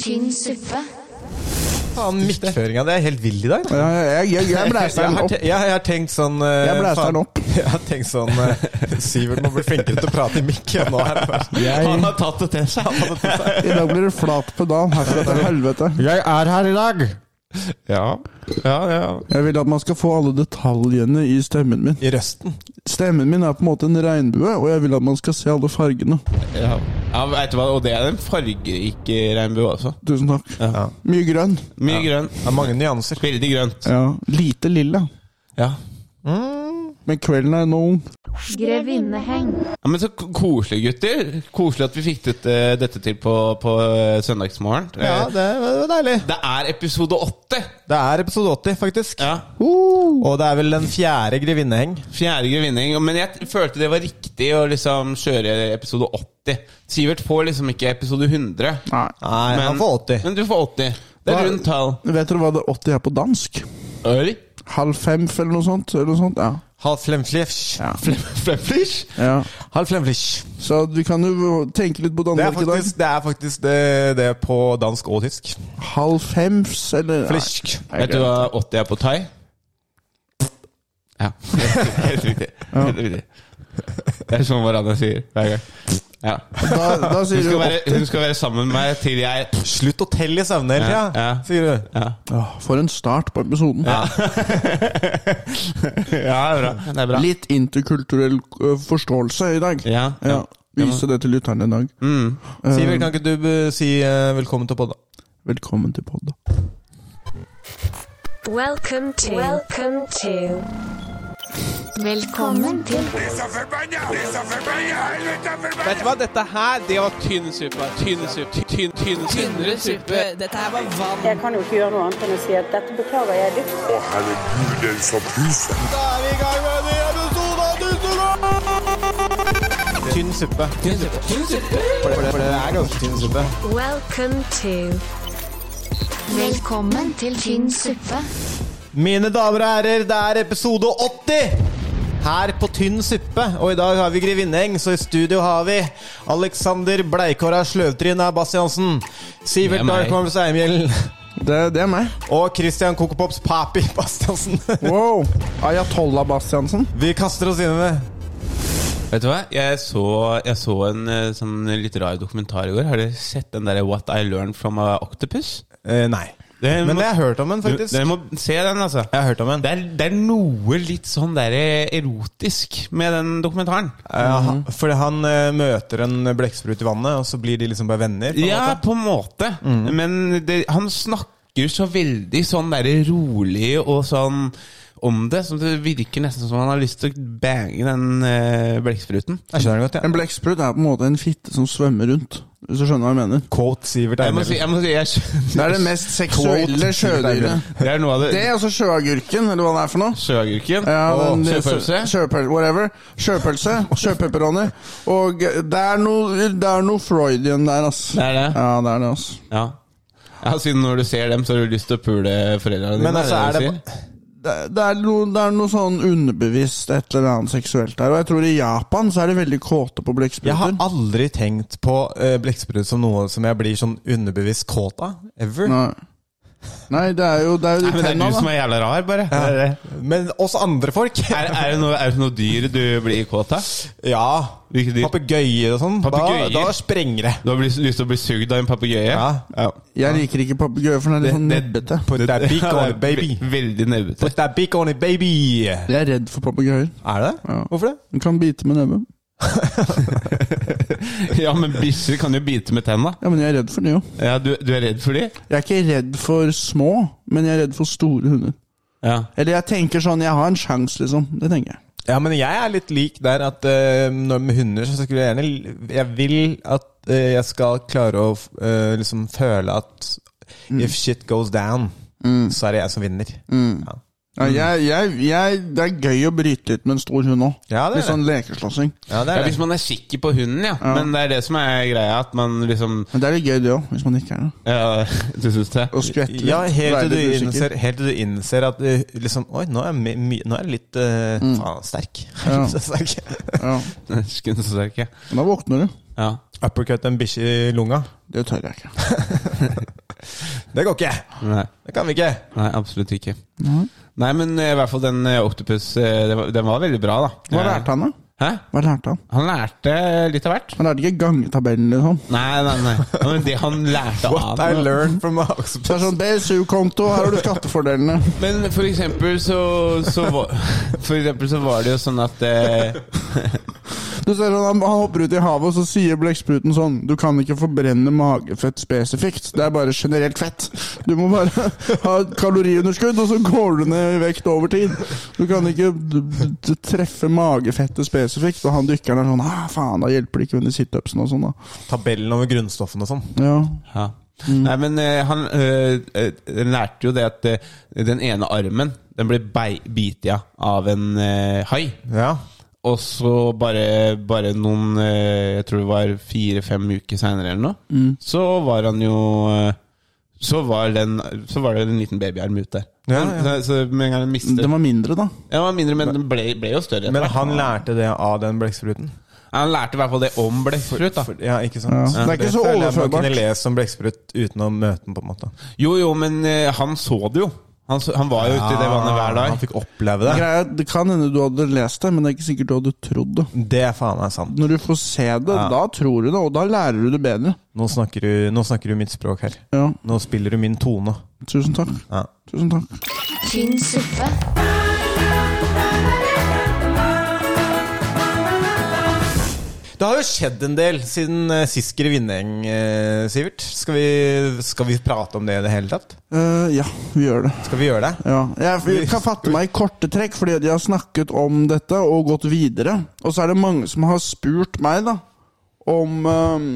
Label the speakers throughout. Speaker 1: tynn suppe.
Speaker 2: Faen, midtføringa. Det er helt vill i dag. da.
Speaker 3: Ja, Jeg, jeg, jeg blæster
Speaker 2: Jeg
Speaker 3: den
Speaker 2: har,
Speaker 3: opp.
Speaker 2: te jeg, jeg har tenkt sånn eh,
Speaker 3: Jeg blæster den
Speaker 2: faen-
Speaker 3: opp.
Speaker 2: Jeg har tenkt sånn eh, Sivert må bli flinkere til å prate i mikken. Nå er det bare-
Speaker 3: Jeg-
Speaker 2: Han har tatt det til seg. Han har tatt det til seg.
Speaker 3: I dag blir det flat pedal herfra til helvete.
Speaker 4: Jeg er her i dag.
Speaker 2: Ja. ja, ja.
Speaker 3: Jeg vil at man skal få alle detaljene i stemmen min.
Speaker 2: I røsten.
Speaker 3: Stemmen min er på en måte en regnbue, og jeg vil at man skal se alle fargene.
Speaker 4: Ja, ja vet du hva, Og det er en fargerik regnbue også.
Speaker 3: Tusen takk.
Speaker 2: Ja.
Speaker 3: Mye grønn.
Speaker 4: Mye grønn.
Speaker 2: Det er mange nyanser.
Speaker 4: Veldig grønt.
Speaker 3: Ja, Lite lilla.
Speaker 4: Ja.
Speaker 3: Men kvelden er nå ung.
Speaker 1: Grevinneheng.
Speaker 4: ja, Men så k- koselig, gutter. Koselig at vi fikk dette, dette til på, på eh, søndagsmorgen.
Speaker 2: Ja,
Speaker 4: Eh,
Speaker 2: det var deilig.
Speaker 4: det er episode åtte!
Speaker 2: Det er episode 80, faktisk.
Speaker 4: Ja.
Speaker 2: Og det er vel den fjerde grevinneheng.
Speaker 4: Fjerde grevinning. Men jeg følte det var riktig å liksom kjøre episode 80. Sivert får liksom ikke episode 100.
Speaker 3: Nei.
Speaker 2: Nei, han får 80.
Speaker 4: Men du får 80. Det
Speaker 3: Hva-
Speaker 4: er rundt tall.
Speaker 3: Vet dere hva det 80 er på dansk?
Speaker 4: Øl?
Speaker 3: Halv fem eller noe sånt? Eller noe sånt? Ja.
Speaker 2: Halv flemflisj.
Speaker 3: Ja.
Speaker 4: Flemflish?
Speaker 3: ja.
Speaker 2: Halv flemflisj.
Speaker 3: Så du kan jo tenke litt på
Speaker 2: Det er
Speaker 3: Danmark i dag.
Speaker 2: faktisk det, er faktisk det, det er på dansk og tysk.
Speaker 3: Halv fems, eller Nei.
Speaker 2: Flisk.
Speaker 3: Nei,
Speaker 4: Vet du
Speaker 3: greit.
Speaker 4: hva 80 er på thai? Ja. Helt riktig. Helt riktig. Det er sånn hverandre sier hver gang. Ja.
Speaker 3: Da, da
Speaker 4: Hun
Speaker 3: sier du
Speaker 4: skal, være,
Speaker 3: 80.
Speaker 4: hun skal være sammen med meg til jeg
Speaker 2: Slutt å telle i søvne hele
Speaker 4: Ja,
Speaker 2: tida,
Speaker 4: ja.
Speaker 2: sier du.
Speaker 4: Ja,
Speaker 3: Åh, For en start på episoden.
Speaker 4: ja bra. det er bra.
Speaker 3: Litt interkulturell ø, forståelse i dag.
Speaker 4: Ja, ja.
Speaker 3: Ja, Vise det til lytterne i dag.
Speaker 4: Mm.
Speaker 3: Um.
Speaker 2: Sivert, kan ikke du eh, si eh, velkommen til podda?
Speaker 3: Velkommen til podda.
Speaker 5: Welcome to. Welcome to.
Speaker 1: Velkommen til
Speaker 4: Vet du hva, dette her, det var tynn suppe. Tynn suppe. Tynn, tynn, tynnere suppe.
Speaker 6: Dette her var vann.
Speaker 7: Jeg kan jo ikke gjøre noe annet enn å si at dette beklager jeg dypt.
Speaker 8: Å, herregud, den som puser.
Speaker 2: Da er vi i gang med en ny episode av Tynn suppe. Tynn suppe. For, det, for det er ganske tynn suppe.
Speaker 5: Welcome to.
Speaker 1: Velkommen til tynn suppe.
Speaker 2: Mine damer og herrer, det er episode 80! Her på Tynn suppe, og i dag har vi Grevinneheng, så i studio har vi Alexander Bleikåra Sløvtryn av Bastiansen,
Speaker 4: Det
Speaker 2: Sivert
Speaker 4: er meg.
Speaker 2: Darkholms Eimhjellen
Speaker 3: Det, det er meg.
Speaker 2: og Christian Kokopops Papi Bastiansen.
Speaker 3: Wow! Ayatollah Bastiansen.
Speaker 2: Vi kaster oss inn i det.
Speaker 4: Vet du hva, jeg så, jeg så en eh, sånn litt rar dokumentar i går. Har dere sett den derre What I Learned From a Octopus?
Speaker 2: Eh, nei.
Speaker 4: Det
Speaker 2: Men
Speaker 4: må-
Speaker 2: jeg har hørt om den,
Speaker 4: Du-
Speaker 2: faktisk.
Speaker 4: Dere må se den, altså.
Speaker 2: Jeg har hørt om den.
Speaker 4: Det er, det er noe litt sånn der erotisk med den dokumentaren.
Speaker 2: Ja,
Speaker 4: Mhm.
Speaker 2: han- Fordi han eh, møter en blekksprut i vannet, og så blir de liksom bare venner. på en
Speaker 4: Ja,
Speaker 2: måte.
Speaker 4: på en måte. Men det, han snakker så veldig sånn der rolig og sånn om det. Så det virker nesten som han har lyst til å bange den eh, blekkspruten.
Speaker 2: Jeg skjønner det godt,
Speaker 3: En blekksprut er på en måte en fitte som svømmer rundt. Hvis du skjønner hva jeg mener.
Speaker 2: Quote Sivert
Speaker 4: Jeg må
Speaker 2: Eimhjell.
Speaker 4: si, jeg må si jeg skjønner-
Speaker 3: Det er det mest seksuelle sjødyret.
Speaker 4: Det er noe av
Speaker 3: Det
Speaker 4: det
Speaker 3: er altså sjøagurken, eller hva det er for noe.
Speaker 4: Sjøagurken
Speaker 3: Ja,
Speaker 4: og
Speaker 3: den-
Speaker 4: sjøpølse.
Speaker 3: Sjøpøl, whatever. Sjøpølse, sjøpepperoni. Og eh, det er noe det er noe Freudian der, ass.
Speaker 4: Det er det.
Speaker 3: Ja, det er det, ass.
Speaker 4: Ja. ja, siden når du ser dem, så har du lyst til å pule foreldrene dine.
Speaker 2: Men altså,
Speaker 4: er det
Speaker 2: er
Speaker 4: du
Speaker 2: det
Speaker 4: sier?
Speaker 3: Det, det, er noe, det er noe sånn underbevisst et eller annet seksuelt der. Og jeg tror i Japan så er de veldig kåte
Speaker 2: Jeg
Speaker 3: på
Speaker 2: har
Speaker 3: blekkspruter.
Speaker 2: aldri tenkt på eh, blekksprut som noe som jeg blir sånn underbevisst kåt av. Ever.
Speaker 3: Nei. Nei, det er jo, det er jo de
Speaker 4: Men det er
Speaker 3: tenna,
Speaker 4: du som
Speaker 3: da.
Speaker 4: er jævla rar, bare. Det er det.
Speaker 2: Men oss andre folk
Speaker 4: Er, er, det noe, er det noe dyr du blir kåt av?
Speaker 2: Ja.
Speaker 4: Hvilket dyr?
Speaker 2: Papegøyer og sånn. Da,
Speaker 4: Papegøyer?
Speaker 2: da sprenger det.
Speaker 4: Du har lyst, lyst til å bli sugd av en papegøye?
Speaker 2: Ja.
Speaker 3: Jeg liker ikke papegøyer, for den er litt sånn nebbete.
Speaker 2: Put that beak on it, baby.
Speaker 4: Ve- Veldig nebbete.
Speaker 2: Put that beak on it, baby. Er
Speaker 3: Jeg er redd for papegøyer.
Speaker 2: det?
Speaker 3: Ja.
Speaker 2: Hvorfor det?
Speaker 3: Den kan bite med nebbet.
Speaker 4: Ja, men bikkjer kan jo bite med tenna.
Speaker 3: Ja, men jeg er redd for det, jo.
Speaker 4: Ja, du, du er redd for de?
Speaker 3: Jeg er ikke redd for små, men jeg er redd for store hunder.
Speaker 4: Ja.
Speaker 3: Eller jeg tenker sånn, jeg har en sjanse, liksom. Det tenker jeg.
Speaker 2: Ja, men jeg er litt lik der at eh, når med hunder så skulle jeg gjerne Jeg vil at eh, jeg skal klare å eh, liksom føle at
Speaker 4: Mm.
Speaker 2: if shit goes down, så er det jeg som vinner. Ja.
Speaker 3: Ja, jeg, jeg, jeg, det er gøy å bryte litt med en stor hund òg.
Speaker 2: Ja, det er
Speaker 3: litt sånn lekeslåssing.
Speaker 2: Ja, det
Speaker 4: Ja,
Speaker 2: er
Speaker 4: hvis
Speaker 2: det.
Speaker 4: man er sikker på hunden, ja. Men det er det som er greia, at man liksom
Speaker 3: Men det er litt gøy, det òg, hvis man ikke er det.
Speaker 4: ja, Du syns det?
Speaker 3: Å skvette litt.
Speaker 2: Ja, helt
Speaker 3: være
Speaker 2: til,
Speaker 3: litt
Speaker 2: du
Speaker 3: usikker.
Speaker 2: innser, helt til du innser at eh, liksom Oi, nå er jeg, my, my, nå er jeg litt eh, faen, sterk.
Speaker 3: Mm. Ja.
Speaker 2: Så sterk.
Speaker 3: Ja.
Speaker 4: Skulle så sterk, ja.
Speaker 3: Men Da våkner du.
Speaker 4: Ja.
Speaker 2: Uppercut en bikkje i lunga.
Speaker 3: Det tør jeg ikke.
Speaker 2: Det går ikke!
Speaker 4: Nei.
Speaker 2: Det kan vi ikke!
Speaker 4: Nei, absolutt ikke. Nei, men eh, i hvert fall den eh, Octopus eh, det var, Den var veldig bra, da.
Speaker 3: Hva
Speaker 4: Eh,
Speaker 3: lærte han, da?
Speaker 4: Hæ?
Speaker 3: Hva lærte han?
Speaker 4: Han lærte litt av hvert.
Speaker 3: Han lærte ikke gangetabellen, liksom.
Speaker 4: Nei, nei, nei. Men det han lærte
Speaker 2: What
Speaker 4: av
Speaker 2: I learned from Oxford.
Speaker 3: Så det er sånn BSU-konto, her har du skattefordelene.
Speaker 4: Men for eksempel så, så var, For eksempel så var det jo sånn at eh,
Speaker 3: Du ser sånn, han, han hopper ut i havet, og så sier blekkspruten sånn Du kan ikke forbrenne magefett spesifikt, det er bare generelt fett. Du må bare ha et kaloriunderskudd, og så går du ned i vekt over tid. Du kan ikke d- d- treffe magefettet spesifikt, og han dykkeren er sånn ah, faen, da hjelper det ikke under situpsene og sånn, da.
Speaker 2: Tabellen over grunnstoffene og sånn.
Speaker 3: Ja.
Speaker 4: Ja. Nei, men eh, han eh, eh, lærte jo det at eh, den ene armen Den ble bei- bitt i av en eh, hai.
Speaker 2: Ja.
Speaker 4: Og så bare, bare noen eh, Jeg tror det var fire-fem uker seinere eller noe, så var han jo eh, så var, den, så var det en liten babyarm ut der.
Speaker 2: Ja,
Speaker 4: Men- Så, så med en gang han mistet
Speaker 3: Den var mindre, da.
Speaker 4: Ja, Den var mindre, men den ble, ble jo større. etter
Speaker 2: Men
Speaker 4: hvert.
Speaker 2: han lærte det av den blekkspruten?
Speaker 4: han lærte i hvert fall det om blekksprut. da.
Speaker 2: Ja, ikke sant?
Speaker 3: Ja. Det er ikke så
Speaker 2: føler jeg Man
Speaker 3: overførbart.
Speaker 2: kunne lese om blekksprut uten å møte den, på en måte.
Speaker 4: Jo, jo, men eh, han så det jo. Han, så, han var jo ute i det vannet hver
Speaker 2: Han
Speaker 4: dag.
Speaker 2: fikk oppleve det.
Speaker 3: Greia, er, det kan hende du hadde lest det, men det er ikke sikkert du hadde trodd det.
Speaker 2: Det er faen meg sant.
Speaker 3: Når du får se det, da tror du det, og da lærer du det bedre.
Speaker 2: Nå snakker, du, nå snakker du mitt språk her.
Speaker 3: Ja,
Speaker 2: Nå spiller du min tone.
Speaker 3: tusen takk.
Speaker 2: Ja.
Speaker 3: Tusen takk.
Speaker 1: Tynn suppe.
Speaker 2: Det har jo skjedd en del siden uh, sist Grevinneng, eh, Sivert. Skal vi, skal vi prate om det i det hele tatt?
Speaker 3: Eh, ja, vi gjør det.
Speaker 2: Skal vi gjøre det?
Speaker 3: Ja. Jeg, jeg kan fatte meg i korte trekk, fordi de har snakket om dette og gått videre. Og så er det mange som har spurt meg da om, eh,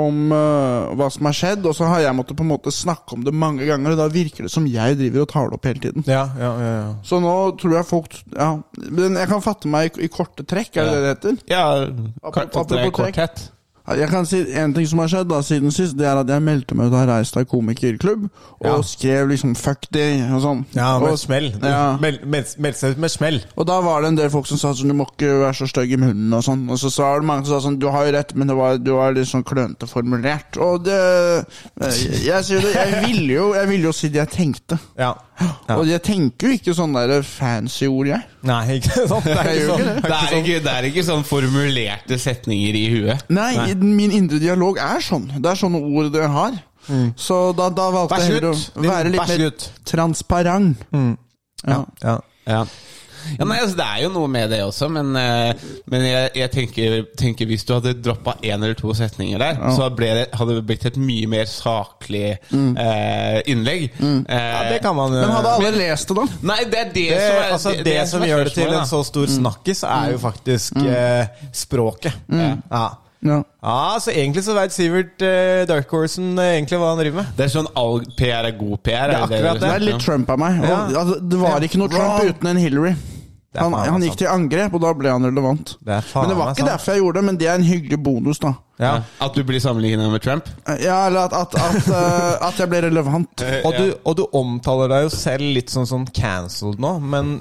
Speaker 3: om eh, hva som har skjedd, og så har jeg måttet på en måte snakke om det mange ganger, og da virker det som jeg driver og tar det opp hele tiden.
Speaker 2: Ja, ja, ja. ja.
Speaker 3: Så nå tror jeg folk Ja, men jeg kan fatte meg i, i korte trekk, er det det det heter?
Speaker 4: Ja,
Speaker 3: Apropos-
Speaker 4: kort,
Speaker 3: apropos
Speaker 4: korthet.
Speaker 3: Jeg kan si En ting som har skjedd da siden sist, det er at jeg meldte meg ut av Reistad komikerklubb, og
Speaker 2: Ja.
Speaker 3: skrev liksom 'fuck de' og sånn.
Speaker 2: Ja, med
Speaker 3: og,
Speaker 2: smell.
Speaker 3: Ja.
Speaker 2: Meld, meld, meld seg ut med smell.
Speaker 3: Og da var det en del folk som sa sånn 'du må ikke være så stygg i munnen' og sånn. Og så sa det mange som sa sånn 'du har jo rett, men det var, du var litt sånn klønete formulert'. Og det Jeg, jeg sier det, jeg ville jo, jeg ville jo si det jeg tenkte.
Speaker 2: Ja. ja.
Speaker 3: Og jeg tenker jo ikke sånne der fancy ord, jeg.
Speaker 2: Nei, ikke sant? Det er ikke
Speaker 3: Jeg gjør
Speaker 2: sånn.
Speaker 3: ikke
Speaker 4: Det er, ikke, det er ikke sånn formulerte setninger i huet.
Speaker 3: Nei, min indre dialog er sånn. Det er sånne ord jeg har. Så da, da valgte
Speaker 2: Bæsj
Speaker 3: jeg heller
Speaker 2: ut,
Speaker 3: å
Speaker 2: din
Speaker 3: være litt
Speaker 2: bæsj
Speaker 3: mer
Speaker 2: ut.
Speaker 3: transparent. Ja.
Speaker 2: sånn. Ja.
Speaker 4: Ja. Ja, nei, altså, det er jo noe med det også, men, eh, men jeg, jeg tenker, tenker hvis du hadde droppa én eller to setninger der, så ble det, hadde det blitt et mye mer saklig eh, innlegg.
Speaker 2: Mm. ja, det kan man eh,
Speaker 3: Men hadde alle lest det, da?
Speaker 4: Nei, det er det,
Speaker 2: det,
Speaker 4: som er
Speaker 2: altså, det, som
Speaker 4: er
Speaker 2: gjør det til
Speaker 4: spørsmålet,
Speaker 2: en så stor snakkis, er jo faktisk eh, språket. Ja.
Speaker 3: Ja.
Speaker 2: ja, så egentlig så veit Sivert eh, Dark Horsen eh, egentlig hva han driver med.
Speaker 4: da. Det er sånn all PR er god PR.
Speaker 2: Det er akkurat
Speaker 3: Det er
Speaker 4: snakker
Speaker 3: litt
Speaker 4: om?
Speaker 3: Trump av meg. Og,
Speaker 2: Ja.
Speaker 3: altså, det var ikke noe Trump
Speaker 2: Wow.
Speaker 3: uten en Hillary.
Speaker 2: er
Speaker 3: Han,
Speaker 2: faen meg
Speaker 3: han gikk
Speaker 2: sant.
Speaker 3: til angrep, og da ble han relevant.
Speaker 2: Det er faen
Speaker 3: Men det var
Speaker 2: meg
Speaker 3: ikke
Speaker 2: sant.
Speaker 3: derfor jeg gjorde det, men det er en hyggelig bonus, da.
Speaker 2: Ja.
Speaker 4: At du blir sammenlignet med Trump?
Speaker 3: Ja, eller at, at, at, eh, at jeg ble relevant.
Speaker 2: Og du, og du omtaler deg jo selv litt sånn sånn cancelled nå, men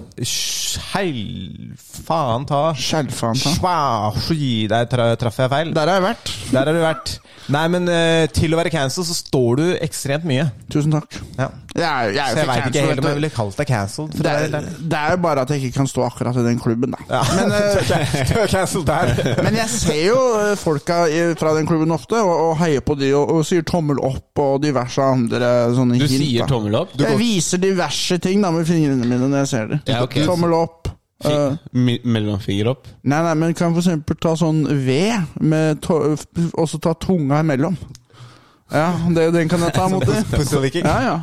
Speaker 2: skjell... Faen ta
Speaker 3: Skjelvfaen ta.
Speaker 2: Sva- Gi deg, tra- traff jeg feil?
Speaker 3: Der har jeg vært.
Speaker 2: Der har du vært. Nei, men eh, til å være cancelled så står du ekstremt mye.
Speaker 3: Tusen takk.
Speaker 2: Ja.
Speaker 3: Jeg er, jeg er
Speaker 2: Så
Speaker 3: jo
Speaker 2: jeg
Speaker 3: ikke
Speaker 2: veit ikke
Speaker 3: cancelled,
Speaker 2: helt om
Speaker 3: vet
Speaker 2: jeg
Speaker 3: du.
Speaker 2: ville kalt deg cancelled. For
Speaker 3: Det
Speaker 2: det
Speaker 3: er, det er jo bare at jeg ikke kan stå akkurat i den klubben, da.
Speaker 2: men, eh, du er cancelled der.
Speaker 3: Men jeg ser jo eh, folka i- fra den klubben ofte, og, og heier på de, og, og sier tommel opp og diverse andre eh, sånne
Speaker 4: Du
Speaker 3: hint.
Speaker 4: sier
Speaker 3: da.
Speaker 4: tommel opp? Du
Speaker 3: Jeg
Speaker 4: går
Speaker 3: viser diverse ting da med fingrene mine når jeg ser det.
Speaker 4: Ja, ok.
Speaker 3: Tommel opp. eh,
Speaker 4: mi- mellomfinger opp?
Speaker 3: nei, nei, men kan for eksempel ta sånn ved, med to eh, og så ta tunga imellom. Ja, det, den kan jeg ta mot det.
Speaker 2: Pusselicking.
Speaker 3: Ja, ja.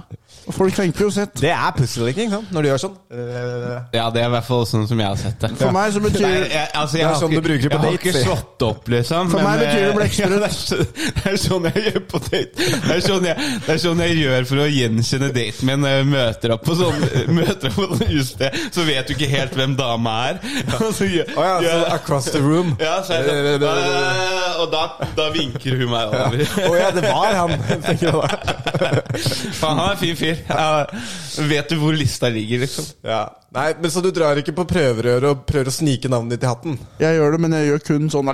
Speaker 3: Og Folk tenker jo sett.
Speaker 2: Det er pusselicking, sant? Når du gjør sånn.
Speaker 4: Ja, det er i hvert fall sånn som jeg har sett det.
Speaker 3: For meg så
Speaker 4: Det er,
Speaker 3: betyr
Speaker 4: jeg, altså,
Speaker 2: Det
Speaker 4: jeg
Speaker 2: er
Speaker 4: har
Speaker 2: sånn
Speaker 4: ikke-
Speaker 2: du bruker det på
Speaker 4: Jeg har
Speaker 2: date,
Speaker 4: ikke
Speaker 2: si.
Speaker 4: slått det opp, liksom.
Speaker 3: For meg
Speaker 4: men,
Speaker 3: betyr det
Speaker 4: eh,
Speaker 3: blekksprut.
Speaker 4: ja, det, er så- det er sånn jeg gjør på date. Det er sånn jeg, det er sånn jeg gjør for å gjenkjenne daten min når jeg møter opp på sånn Møter opp på sånn utsted, så vet du ikke helt hvem dama er. Og så gjør,
Speaker 2: Å ja, så
Speaker 4: gjør-
Speaker 2: across the room.
Speaker 4: ja, så er det sånn, eh, Og da, da vinker hun meg over.
Speaker 2: Å ja, det var er han! tenker jeg da.
Speaker 4: Faen, han er en fin fyr. Ja, vet du hvor lista ligger, liksom?
Speaker 2: Ja. Nei, men Så du drar ikke på prøverøret og prøver å snike navnet ditt i hatten?
Speaker 3: Jeg gjør det, men jeg gjør kun sånn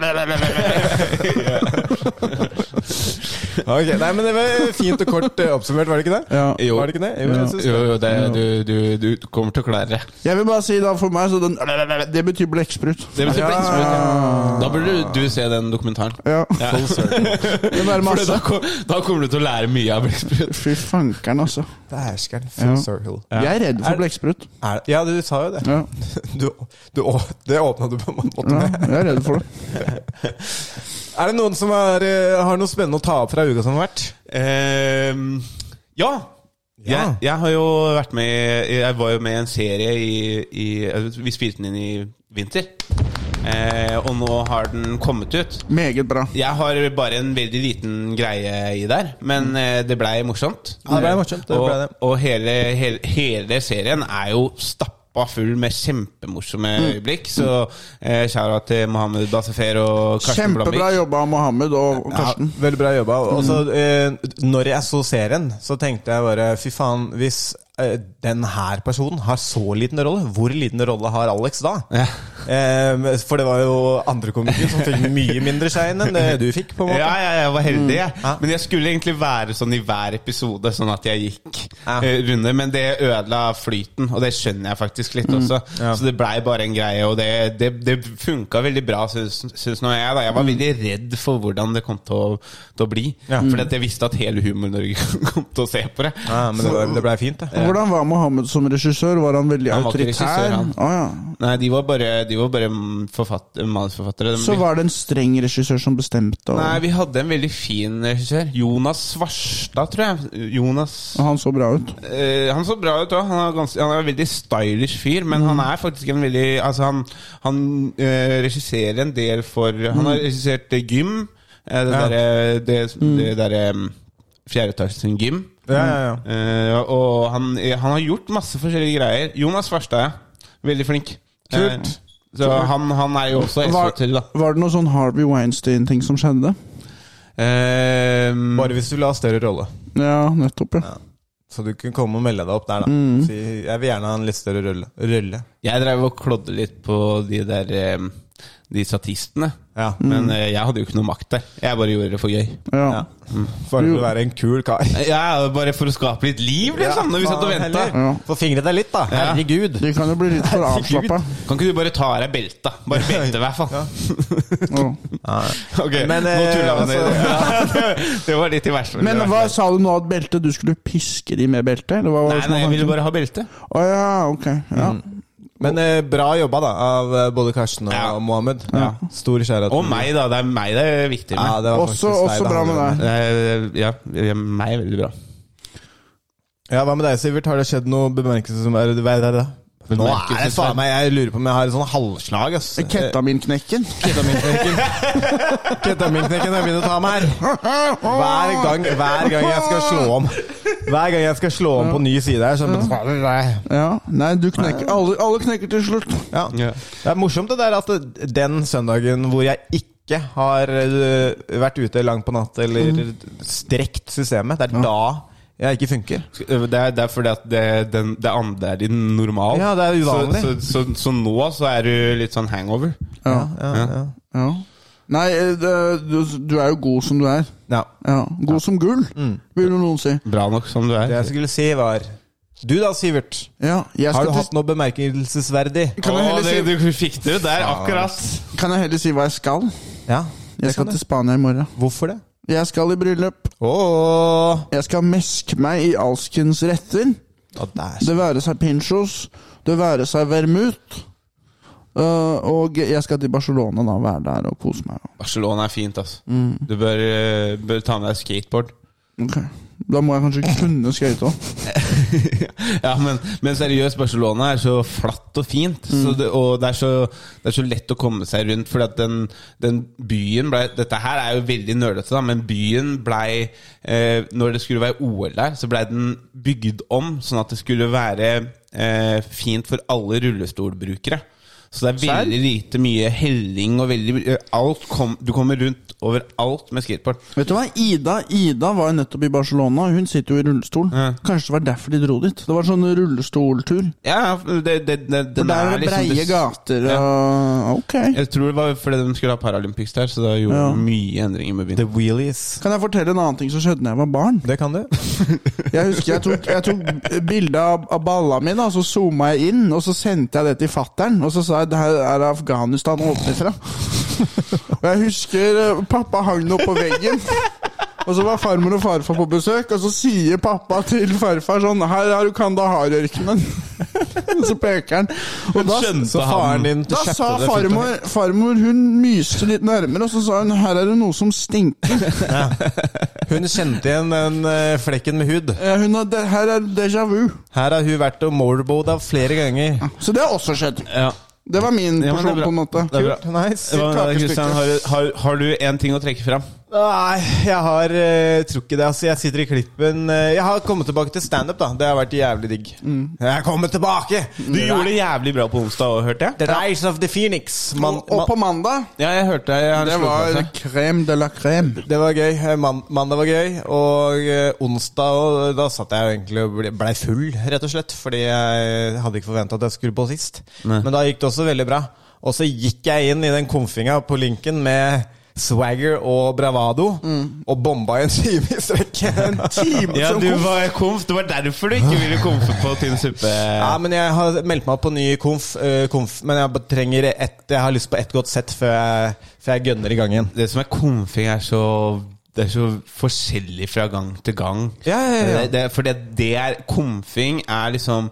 Speaker 2: Ok, nei, men Det var fint og kort eh, oppsummert, var det ikke det?
Speaker 3: Ja.
Speaker 2: Var det ikke det? Jo, jeg synes
Speaker 4: Jo,
Speaker 2: det.
Speaker 4: jo, det, du, du, du kommer til å klare det.
Speaker 3: Jeg vil bare si da for meg så den Det betyr blekksprut.
Speaker 4: Det betyr blekksprut. ja. Da burde du, du se den dokumentaren.
Speaker 3: Ja.
Speaker 4: Full circle.
Speaker 3: Det er
Speaker 4: For da,
Speaker 3: masse.
Speaker 4: kom- da kommer du til å lære mye av blekksprut.
Speaker 3: Fy fankeren, altså.
Speaker 2: Dæsker'n.
Speaker 3: Ja.
Speaker 2: Full circle.
Speaker 3: Jeg er redd for blekksprut.
Speaker 2: Er, det- ja, du sa jo det.
Speaker 3: Ja.
Speaker 2: Du, du, å- det åpna du på en måte
Speaker 3: ja,
Speaker 2: med.
Speaker 3: jeg er redd for det.
Speaker 2: Er det noen som er, eh, har noe spennende å ta opp fra uka som har vært?
Speaker 4: Ehm, ja. Jeg, jeg har jo vært med i- Jeg var jo med i en serie i, i Vi spilte den inn i vinter. Eh, og nå har den kommet ut.
Speaker 3: Meget bra.
Speaker 4: Jeg har bare en veldig liten greie i der, men eh, det blei morsomt.
Speaker 2: Mm. Ja, det ble morsomt, det
Speaker 4: og
Speaker 2: ble det.
Speaker 4: og hele, hele, hele serien er jo stappa full med kjempemorsomme
Speaker 2: Mm.
Speaker 4: øyeblikk. Så eh, kjære til Mohammed Basefer og Karsten
Speaker 3: Kjempebra
Speaker 4: Blomvik.
Speaker 3: jobba av Mohammed og og Karsten.
Speaker 2: Ja, veldig bra jobba. Og så,
Speaker 4: Mm.
Speaker 2: eh, når jeg så serien, så tenkte jeg bare fy faen, hvis eh, den her personen har så liten rolle, hvor liten rolle har Alex da?
Speaker 4: Ja.
Speaker 2: Eh, for det var jo andre komikere som fikk mye mindre shine enn det du fikk. på en måte Mm.
Speaker 4: Ja, ja, jeg var heldig, jeg.
Speaker 2: Ja.
Speaker 4: Men jeg skulle egentlig være sånn i hver episode, sånn at jeg gikk
Speaker 2: Ja.
Speaker 4: eh, runde. Men det ødela flyten, og det skjønner jeg faktisk litt også.
Speaker 2: Mm. Ja.
Speaker 4: Så det blei bare en greie, og det, det, det funka veldig bra, syns syns nå jeg. da Jeg var veldig redd for hvordan det kom til å, til å bli.
Speaker 2: Mm. Ja.
Speaker 4: Fordi at jeg visste at hele Humor-Norge kom til å se på det.
Speaker 2: Ja, men det, var- det blei fint, det.
Speaker 3: Hvordan var Mohammed som regissør? Var han veldig
Speaker 4: Han var ikke regissør,
Speaker 3: autoritær?
Speaker 4: han.
Speaker 3: Å, ja.
Speaker 4: Nei, de var bare, de var bare forfatter, manusforfattere.
Speaker 3: Så var det en streng regissør som bestemte, og,
Speaker 4: Nei, vi hadde en veldig fin regissør. Jonas Svarstad, tror jeg. Jonas
Speaker 3: og han så bra ut.
Speaker 4: Eh, han så bra ut òg. Han, er gans- han er en veldig stylish fyr, men
Speaker 2: Mm.
Speaker 4: han er faktisk en veldig Altså, han, han eh, regisserer en del for Han har regissert eh, Gym. eh, det
Speaker 2: Mm. Ja. Mm.
Speaker 4: derre Det, det derre um, fjerdeetasjen Gym.
Speaker 2: Ja, ja, ja.
Speaker 4: Eh, og han, eh, han har gjort masse forskjellige greier. Jonas Farstad, ja. Veldig flink.
Speaker 2: Kult.
Speaker 4: Eh, så han, han er jo også
Speaker 3: Var,
Speaker 4: SO-til, da.
Speaker 3: var det noe sånn Harvey Weinstein-ting som skjedde?
Speaker 4: Eh,
Speaker 2: Bare hvis du vil ha større rolle.
Speaker 3: Ja, nettopp, ja.
Speaker 2: Så du kunne komme og melde deg opp der, da.
Speaker 4: Mm.
Speaker 2: Si jeg vil gjerne ha en litt større rølle. rølle.
Speaker 4: Jeg drev og klodde litt på de der eh, De statistene.
Speaker 2: Ja. Mm.
Speaker 4: Men eh, jeg hadde jo ikke noe makt der. Jeg bare gjorde det for gøy.
Speaker 3: ja.
Speaker 2: Ja. Bare for å være en kul kar.
Speaker 4: Ja, Bare for å skape litt liv, liksom, når vi satt og venta.
Speaker 2: heller. Få fingre deg litt, da.
Speaker 4: Ja.
Speaker 2: Herregud.
Speaker 3: De kan jo bli litt for
Speaker 2: Herregud.
Speaker 3: avslappa.
Speaker 4: Kan ikke du bare ta av deg belta? Bare belte, i hvert fall.
Speaker 3: Ja.
Speaker 4: Ok,
Speaker 2: Men,
Speaker 4: nå
Speaker 2: eh,
Speaker 4: tulla vi
Speaker 2: altså-
Speaker 4: ned. Ja, det var litt i verste.
Speaker 3: Men hva sa du nå at belte? Du skulle piske de med belte? Eller hva var
Speaker 4: Nei,
Speaker 3: det som
Speaker 4: nei,
Speaker 3: var
Speaker 4: jeg ville
Speaker 3: tanken?
Speaker 4: bare Mm. ha belte.
Speaker 3: Å ja, ok. Ja.
Speaker 2: Men eh, bra jobba da av eh, både Karsten og,
Speaker 4: Ja.
Speaker 2: og Mohammed. Stor kjærlighet.
Speaker 4: Og meg, da. Det er meg det er viktig
Speaker 2: Mm. Ja,
Speaker 4: med.
Speaker 2: det var
Speaker 3: Også,
Speaker 2: faktisk
Speaker 3: også
Speaker 2: det
Speaker 3: bra med
Speaker 2: handler om.
Speaker 3: deg.
Speaker 4: Eh, Ja, ja, meg er veldig bra.
Speaker 2: Ja, Hva med deg, Sivert? Har det skjedd noe bemerkelsesverdig? Nå er det faen meg Jeg lurer på om jeg har et sånn halvslag. ass
Speaker 3: Ketaminknekken.
Speaker 2: Ketaminknekken Ketaminknekken jeg begynner å ta meg her. Hver gang, hver gang jeg skal slå om Hver gang jeg skal slå om på ny side her, så
Speaker 3: Ja. Nei, du knekker alle, alle knekker til slutt.
Speaker 2: ja. Det er morsomt det der at det- den søndagen hvor jeg ikke har øh, vært ute langt på natt eller strekt systemet, det er da jeg ikke funker.
Speaker 4: Det er, det er fordi at det, den, det andre er din normal.
Speaker 2: Ja, det er uvanlig.
Speaker 4: Så, så, så, så nå så er du litt sånn hangover.
Speaker 3: Ja.
Speaker 2: Ja, ja.
Speaker 3: ja. Nei, eh, det- du, du er jo god som du er.
Speaker 2: ja. Mm.
Speaker 3: Ja, God som gull, vil jo noen si.
Speaker 4: Bra nok som du er.
Speaker 2: Det jeg skulle si, var Du da, Sivert.
Speaker 3: Ja, jeg
Speaker 2: Har
Speaker 3: skal
Speaker 2: du
Speaker 3: til-
Speaker 2: hatt noe bemerkelsesverdig?
Speaker 3: kan jeg
Speaker 4: Å,
Speaker 3: heller
Speaker 4: det,
Speaker 3: si-
Speaker 4: du fikk det ut der, akkurat.
Speaker 3: Kan jeg heller si hva jeg skal?
Speaker 2: Ja,
Speaker 3: Jeg
Speaker 2: det
Speaker 3: skal
Speaker 2: kan
Speaker 3: til
Speaker 2: du.
Speaker 3: Spania i morgen.
Speaker 2: Hvorfor det?
Speaker 3: Jeg skal i bryllup.
Speaker 2: Ååå.
Speaker 3: Jeg skal meske meg i alskens retter. Det være seg pinchos, det være seg vermut. Eh, og jeg skal til Barcelona, da. Være der og kose meg.
Speaker 4: Barcelona er fint, altså.
Speaker 2: Mm.
Speaker 4: Du bør, eh, bør ta med deg skateboard.
Speaker 3: Ok, Da må jeg kanskje kunne skøyte òg.
Speaker 4: ja, men, men seriøst, Barcelona er så flatt og fint.
Speaker 3: Mm.
Speaker 4: Så det, og det er, så, det er så lett å komme seg rundt. Fordi at den, den byen ble, Dette her er jo veldig nerdete, da, men byen blei eh, Når det skulle være OL der, så blei den bygd om sånn at det skulle være eh, fint for alle rullestolbrukere. Så det er veldig lite mye helling og veldig eh, alt kom, Du kommer rundt overalt med skateboard.
Speaker 3: Vet du hva, Ida Ida var jo nettopp i Barcelona. Hun sitter jo i rullestol.
Speaker 4: Ja.
Speaker 3: Kanskje det var derfor de dro dit. Det var sånn rullestoltur.
Speaker 4: Ja, ja, det, det, det,
Speaker 3: For
Speaker 4: den
Speaker 3: der er det
Speaker 4: liksom-
Speaker 3: breie gater og Ok.
Speaker 4: Jeg tror det var fordi de skulle ha Paralympics der, så da gjorde
Speaker 3: Ja.
Speaker 4: de mye endringer med
Speaker 2: The
Speaker 4: bilen.
Speaker 2: wheelies.
Speaker 3: Kan jeg fortelle en annen ting som skjedde da jeg var barn?
Speaker 2: Det kan du.
Speaker 3: Jeg husker jeg tok, jeg tok bilde av, av balla mi, da, så zooma jeg inn, og så sendte jeg det til fattern. Og så sa jeg det her er Afghanistan åpner fra. Og jeg husker eh, pappa hang det opp på veggen. Og så var farmor og farfar på besøk, og så sier pappa til farfar sånn Her har du Kandahar-ørkenen. Og så peker han. Og da,
Speaker 2: skjønte
Speaker 3: så
Speaker 2: han.
Speaker 3: din Da
Speaker 2: skjønte
Speaker 3: sa
Speaker 2: det fullt og
Speaker 3: farmor, farmor Hun myste litt nærmere, og så sa hun her er det noe som stinker.
Speaker 2: Hun kjente igjen den eh, flekken med hud.
Speaker 3: Eh, Hun har, det, her er déjà vu.
Speaker 2: Her har hun vært og motorboada flere ganger.
Speaker 3: Så det har også skjedd.
Speaker 4: Ja.
Speaker 3: Det var min
Speaker 4: Ja, men det
Speaker 3: porsjon,
Speaker 4: er bra.
Speaker 3: på en måte.
Speaker 4: Det er bra.
Speaker 2: Kult, nice.
Speaker 4: Hva med deg,
Speaker 3: Kakestykke.
Speaker 4: Christian? har, du- har, har du én ting å trekke fram?
Speaker 2: Nei, jeg har eh, tror ikke det. Altså, jeg sitter i klippen. Eh, jeg har kommet tilbake til standup, da. Det har vært jævlig digg. Jeg er kommet tilbake!
Speaker 4: Du gjorde det jævlig bra på onsdag òg, hørte jeg.
Speaker 2: The Rise of the Phoenix. Man,
Speaker 3: og, og på mandag
Speaker 4: Ja, jeg hørte jeg, har
Speaker 3: Det
Speaker 4: slått opp
Speaker 3: var
Speaker 4: her.
Speaker 3: krem de la crème.
Speaker 2: Det var gøy. Eh, Man mandag var gøy, og eh, onsdag og da satt jeg jo egentlig og ble- blei full, rett og slett. Fordi jeg hadde ikke forventa at jeg skulle på sist.
Speaker 4: Nei.
Speaker 2: Men da gikk det også veldig bra. Og så gikk jeg inn i den konfinga på linken med Swagger og Bravado, og bomba i en time i strekk. Mm. En time
Speaker 4: ja, du var komf. Det var derfor du ikke ville komfe på Tynn suppe.
Speaker 2: Ja, men jeg har meldt meg på ny konf, eh, konf men jeg bare trenger ett Jeg har lyst på ett godt sett før jeg, før jeg gønner i gang igjen.
Speaker 4: Det som er komfing, er så det er så forskjellig fra gang til gang.
Speaker 2: Ja, ja, ja.
Speaker 4: Det, det, for det, det er Komfing er liksom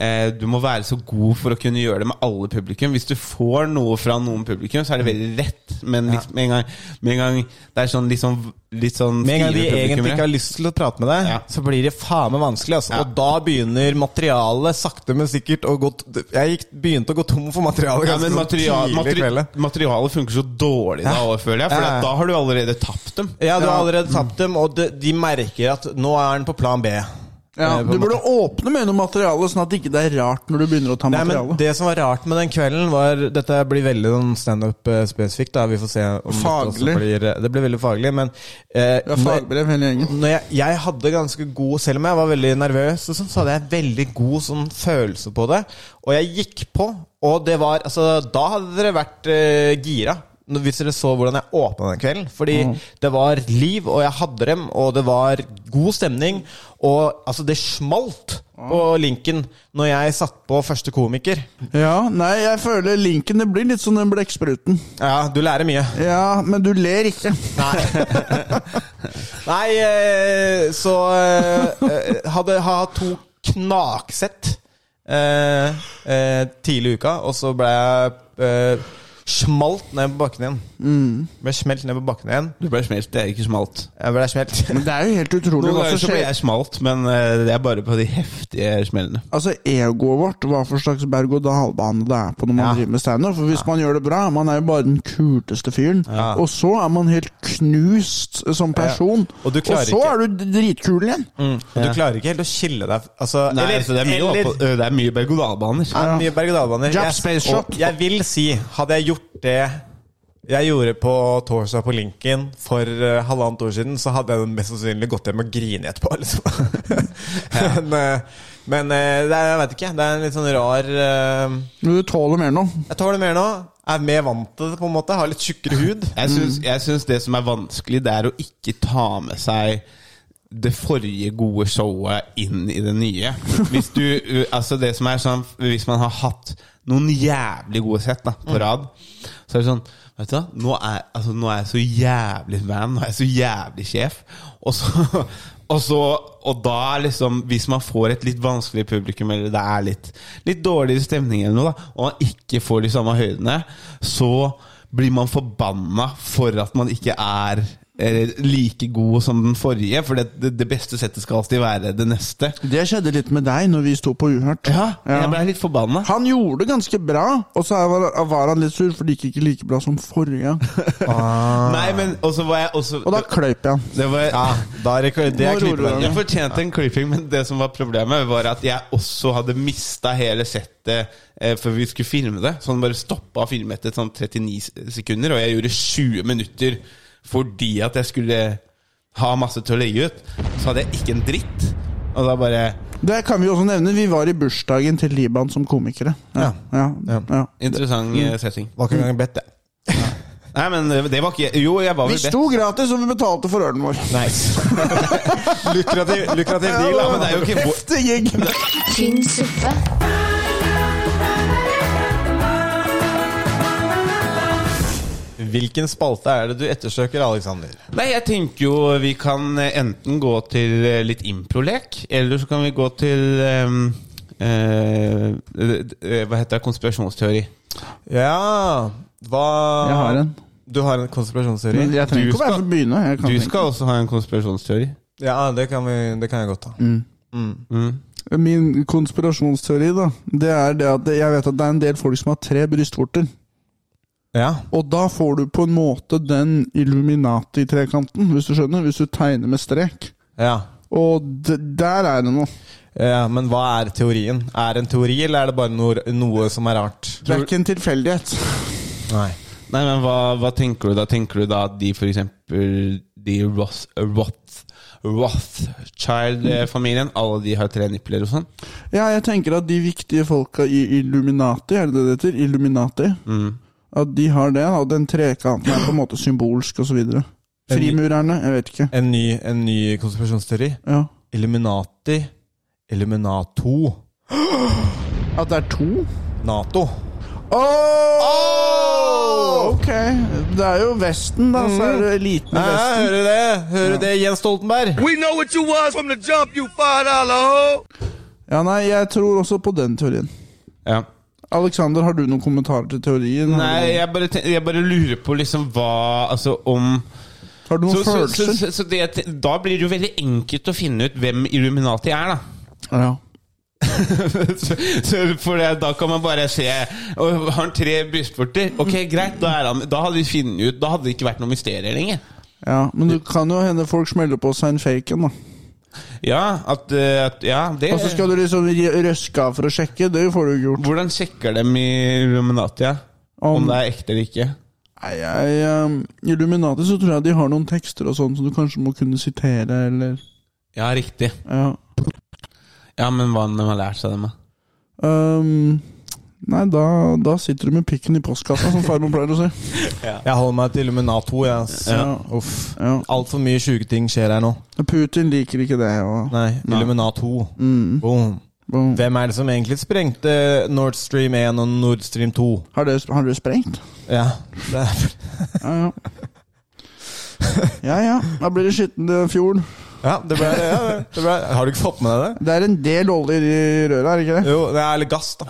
Speaker 4: eh, Du må være så god for å kunne gjøre det med alle publikum. Hvis du får noe fra noen publikum, så er det veldig lett. Men liksom, med, en gang, med en gang det er sånn litt sånn litt sånn
Speaker 2: Med en gang de
Speaker 4: stive publikum,
Speaker 2: egentlig
Speaker 4: ja.
Speaker 2: ikke har lyst til å prate med deg,
Speaker 4: Ja.
Speaker 2: så blir det faen meg vanskelig. Altså.
Speaker 4: Ja.
Speaker 2: Og da begynner materialet sakte, men sikkert å gå t- Jeg gikk, begynte å gå tom for materiale
Speaker 4: ja,
Speaker 2: ganske
Speaker 4: men
Speaker 2: sånn
Speaker 4: material,
Speaker 2: tidlig i
Speaker 4: materi
Speaker 2: kvelden.
Speaker 4: materialet funker så dårlig da, også, føler jeg. For
Speaker 2: Ja.
Speaker 4: at da har du allerede tapt dem.
Speaker 2: Ja, du har allerede tapt dem, og de, de merker at nå er han på plan B.
Speaker 3: Ja,
Speaker 2: Eh, på
Speaker 3: du
Speaker 2: en måte.
Speaker 3: burde åpne med noe materiale, sånn at det ikke er rart når du begynner å ta
Speaker 2: Nei, men
Speaker 3: materiale.
Speaker 2: Det som var rart med den kvelden, var Dette blir veldig sånn standup-spesifikt. da, Vi får se om
Speaker 3: Faglig.
Speaker 2: dette også blir Det blir veldig faglig, men eh,
Speaker 3: Det er fagbrev hele gjengen.
Speaker 2: når jeg, jeg hadde ganske god Selv om jeg var veldig nervøs, og sånn, så hadde jeg veldig god sånn, følelse på det. Og jeg gikk på, og det var altså, Da hadde dere vært eh, gira. når- Hvis dere så hvordan jeg åpna den kvelden. Fordi det var liv, og jeg hadde dem, og det var god stemning. Og altså, det smalt på linken når jeg satt på første komiker.
Speaker 3: Ja, nei, jeg føler linken det blir litt som den blekkspruten.
Speaker 2: Ja, du lærer mye.
Speaker 3: Ja, men du ler ikke.
Speaker 2: Nei, eh, så eh, eh, hadde jeg hatt to knaksett eh, eh, tidlig i uka, og så ble jeg eh, smalt ned på bakken igjen. Ble smelt ned på bakken igjen.
Speaker 4: Du ble smelt, det er ikke smalt.
Speaker 2: Jeg ble smelt.
Speaker 3: Men det er jo helt utrolig
Speaker 4: Noen
Speaker 3: hva
Speaker 4: ganger
Speaker 3: som
Speaker 4: så blir
Speaker 3: skjer.
Speaker 4: jeg smalt, men eh, det er bare på de heftige smellene.
Speaker 3: Altså, egoet vårt, hva for slags berg-og-dal-bane det er på når man
Speaker 2: Ja.
Speaker 3: driver med standup. For hvis man gjør det bra, man er jo bare den kuleste fyren. Og så er man helt knust som person.
Speaker 2: Og du klarer
Speaker 3: så
Speaker 2: ikke- Mm.
Speaker 3: er du dritkul igjen.
Speaker 2: Og du klarer ikke helt å skille deg altså,
Speaker 4: Nei, altså, det er mye,
Speaker 2: eller-
Speaker 4: oppå- ø, det er mye berg-og-dal-baner.
Speaker 2: Det er mye berg-og-dal-baner.
Speaker 3: Jump
Speaker 2: Jeg-
Speaker 3: space shot.
Speaker 2: og Jeg vil si, hadde jeg gjort det jeg gjorde på torsdag på Lincoln for eh, halvannet år siden, så hadde jeg mest sannsynlig gått hjem og grinet etterpå. Liksom. men eh, men eh, det er, jeg vet ikke. Det er en litt sånn rar eh,
Speaker 3: Men du tåler mer nå.
Speaker 2: Jeg tåler mer nå. Er mer vant til det, på en måte. Har litt tjukkere hud.
Speaker 4: Jeg syns, jeg syns det som er vanskelig, det er å ikke ta med seg det forrige gode showet inn i det nye. Hvis du, ø, altså det som er sånn, hvis man har hatt noen jævlig gode sett da, på rad, så er det sånn Vet du hva, nå er, altså, nå er jeg så jævlig man, nå er jeg så jævlig sjef. Og så, og så Og da er liksom Hvis man får et litt vanskelig publikum, eller det er litt, litt dårligere stemning, eller noe da og man ikke får de samme høydene, så blir man forbanna for at man ikke er eh, like god som den forrige, for det, det- det beste settet skal alltid være det neste.
Speaker 3: Det skjedde litt med deg når vi sto på Uhørt.
Speaker 4: Ja, jeg ble litt forbanna.
Speaker 3: Han gjorde det ganske bra, og så var, var han litt sur, for det gikk ikke like bra som forrige.
Speaker 4: Nei, men også var jeg også,
Speaker 3: Og da kløyp jeg han.
Speaker 4: det var,
Speaker 2: Da er det, det
Speaker 3: Nå
Speaker 2: er
Speaker 3: roer du deg
Speaker 2: klippeverket.
Speaker 4: Jeg fortjente en klipping, men det som var problemet, var at jeg også hadde mista hele settet eh, før vi skulle filme det. Så han bare stoppa og filmet etter sånn 39 s- sekunder, og jeg gjorde 20 minutter fordi at jeg skulle ha masse til å legge ut. Så hadde jeg ikke en dritt. Og da bare
Speaker 3: Det kan vi også nevne. Vi var i bursdagen til Liban som komikere. Ja, ja, ja,
Speaker 2: Mm.
Speaker 4: Interessant eh, setting.
Speaker 2: Var ikke engang bedt, jeg.
Speaker 4: Nei, men eh, det var ikke Jo, jeg var
Speaker 3: Vi
Speaker 4: vel
Speaker 3: sto gratis, og vi betalte for ølen vår.
Speaker 2: Nice. lukrativ, lukrativ deal,
Speaker 4: Ja,
Speaker 2: da.
Speaker 4: men det er jo ikke vår-
Speaker 3: Heftig gig!
Speaker 1: Tynn suppe.
Speaker 2: Hvilken spalte er det du ettersøker, Alexander?
Speaker 4: Nei, jeg tenker jo vi kan eh, enten gå til eh, litt improlek, eller så kan vi gå til ehm, eh, d- d- Hva heter det? Konspirasjonsteori.
Speaker 2: Ja Hva
Speaker 3: Jeg har en.
Speaker 2: Du har en konspirasjonsteori?
Speaker 3: Men jeg trenger
Speaker 4: Du
Speaker 3: ikke å være
Speaker 4: skal-
Speaker 3: for å begynne. Jeg kan
Speaker 4: Du
Speaker 3: tenke.
Speaker 4: skal også ha en konspirasjonsteori.
Speaker 2: Ja, det kan, vi, det kan jeg godt ta.
Speaker 3: Min konspirasjonsteori da Det er det at jeg vet at det er en del folk som har tre brystvorter.
Speaker 2: Ja.
Speaker 3: Og da får du på en måte den Illuminati-trekanten, hvis du skjønner. Hvis du tegner med strek.
Speaker 2: ja.
Speaker 3: Og d der er det noe.
Speaker 2: Ja, Men hva er teorien? Er det en teori, eller er det bare noe, noe som er rart?
Speaker 3: Det er ikke en tilfeldighet.
Speaker 2: Nei.
Speaker 4: Nei, men hva, hva tenker du da? Tenker du da at de for eksempel De Roth, Roth, Rothschild-familien, alle de har tre nipler og sånn?
Speaker 3: Ja, jeg tenker at de viktige folka i Illuminati, er det det det heter? Illuminati.
Speaker 4: Mm.
Speaker 3: At de har det, og den trekanten er på en måte symbolsk, og så videre. Frimurerne, jeg vet ikke.
Speaker 2: En ny, en ny konspirasjonsteori?
Speaker 3: Ja.
Speaker 2: Illuminati. Illuminato.
Speaker 3: At det er to?
Speaker 2: Nato.
Speaker 3: Oh! Ok. Det er jo Vesten, da. Så
Speaker 4: Mm.
Speaker 3: er det eliten i Vesten.
Speaker 2: hører du det? Hører du det, Jens Stoltenberg?
Speaker 3: Ja, nei, jeg tror også på den teorien.
Speaker 4: Ja.
Speaker 3: Alexander, har du noen kommentarer til teorien?
Speaker 4: Nei, jeg bare, ten- jeg bare lurer på liksom hva Altså om
Speaker 3: Har du noen
Speaker 4: Så, så,
Speaker 3: følelser?
Speaker 4: så, så, så det, da blir det jo veldig enkelt å finne ut hvem Illuminati er, da.
Speaker 3: Ja.
Speaker 4: så, så for det, da kan man bare se og Har han tre brystvorter? Ok, greit, da, er han, da hadde vi funnet ut Da hadde det ikke vært noe mysterier lenger.
Speaker 3: ja. Men det kan jo hende folk smeller på seg en fake en, da.
Speaker 4: Ja, at, eh, at Ja, det
Speaker 3: Og så skal du liksom ri- røske av for å sjekke. Det får du ikke gjort.
Speaker 4: Hvordan sjekker dem i Illuminati? Ja? Om,
Speaker 3: Om-
Speaker 4: det er ekte eller ikke?
Speaker 3: Nei, jeg, ehm, I Illuminati så tror jeg de har noen tekster og sånn som du kanskje må kunne sitere, eller
Speaker 4: Ja, riktig.
Speaker 3: Ja.
Speaker 4: Ja, men hva om de har lært seg dem, da?
Speaker 3: Ehm, nei, da, da sitter du med pikken i postkassa, som farmor pleier å si.
Speaker 2: Jeg holder meg til Illuminato. Jeg. ass.
Speaker 3: Ja.
Speaker 2: Uff.
Speaker 3: Ja.
Speaker 2: Altfor mye sjuke ting skjer her nå.
Speaker 3: Putin liker ikke det. Og,
Speaker 2: Nei, Illuminato. Boom.
Speaker 3: og,
Speaker 2: Hvem er det som egentlig sprengte Nord Stream 1 og Nord Stream 2?
Speaker 3: har, det, har det sprengt?
Speaker 2: Ja, det er,
Speaker 3: Ja ja. ja ja, da blir det skitne fjorden.
Speaker 2: ja, det ble, ja det ble, Har du ikke fått med deg det?
Speaker 3: Det er en del olje i røret, er det ikke det?
Speaker 2: Jo, det er litt gass, da.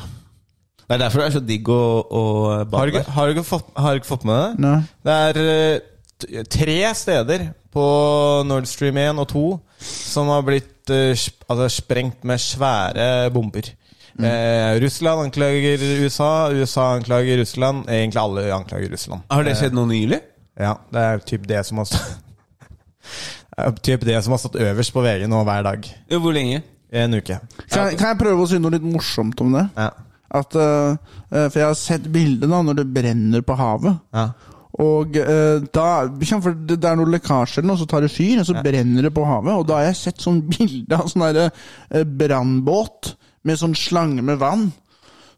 Speaker 4: Det er derfor det er så digg å, å
Speaker 2: Har du
Speaker 4: bade.
Speaker 2: ikke, har du ikke, fått, har du ikke fått med deg det?
Speaker 3: Nei.
Speaker 2: Det er eh, t- tre steder på Nord Stream 1 og 2 som har blitt eh, sp- altså, sprengt med svære bomber. Eh, Russland anklager USA, USA anklager Russland. Egentlig alle anklager Russland.
Speaker 4: Har det skjedd noe nylig?
Speaker 2: Ja, det er typ det som har stått Det er typ det som har stått øverst på VG nå hver dag.
Speaker 4: Jo, Hvor lenge?
Speaker 2: En uke.
Speaker 3: Kan, jeg- kan jeg prøve å si noe litt morsomt om det?
Speaker 2: Ja.
Speaker 3: At, eh, eh, for jeg har sett bilder da, når det brenner på havet.
Speaker 2: Ja.
Speaker 3: Og eh, da, kjenn for det, det er noe lekkasje eller noe, så tar det fyr, og så brenner det på havet. Og da har jeg sett sånn bilde av sånn derre eh, brannbåt med sånn slange med vann.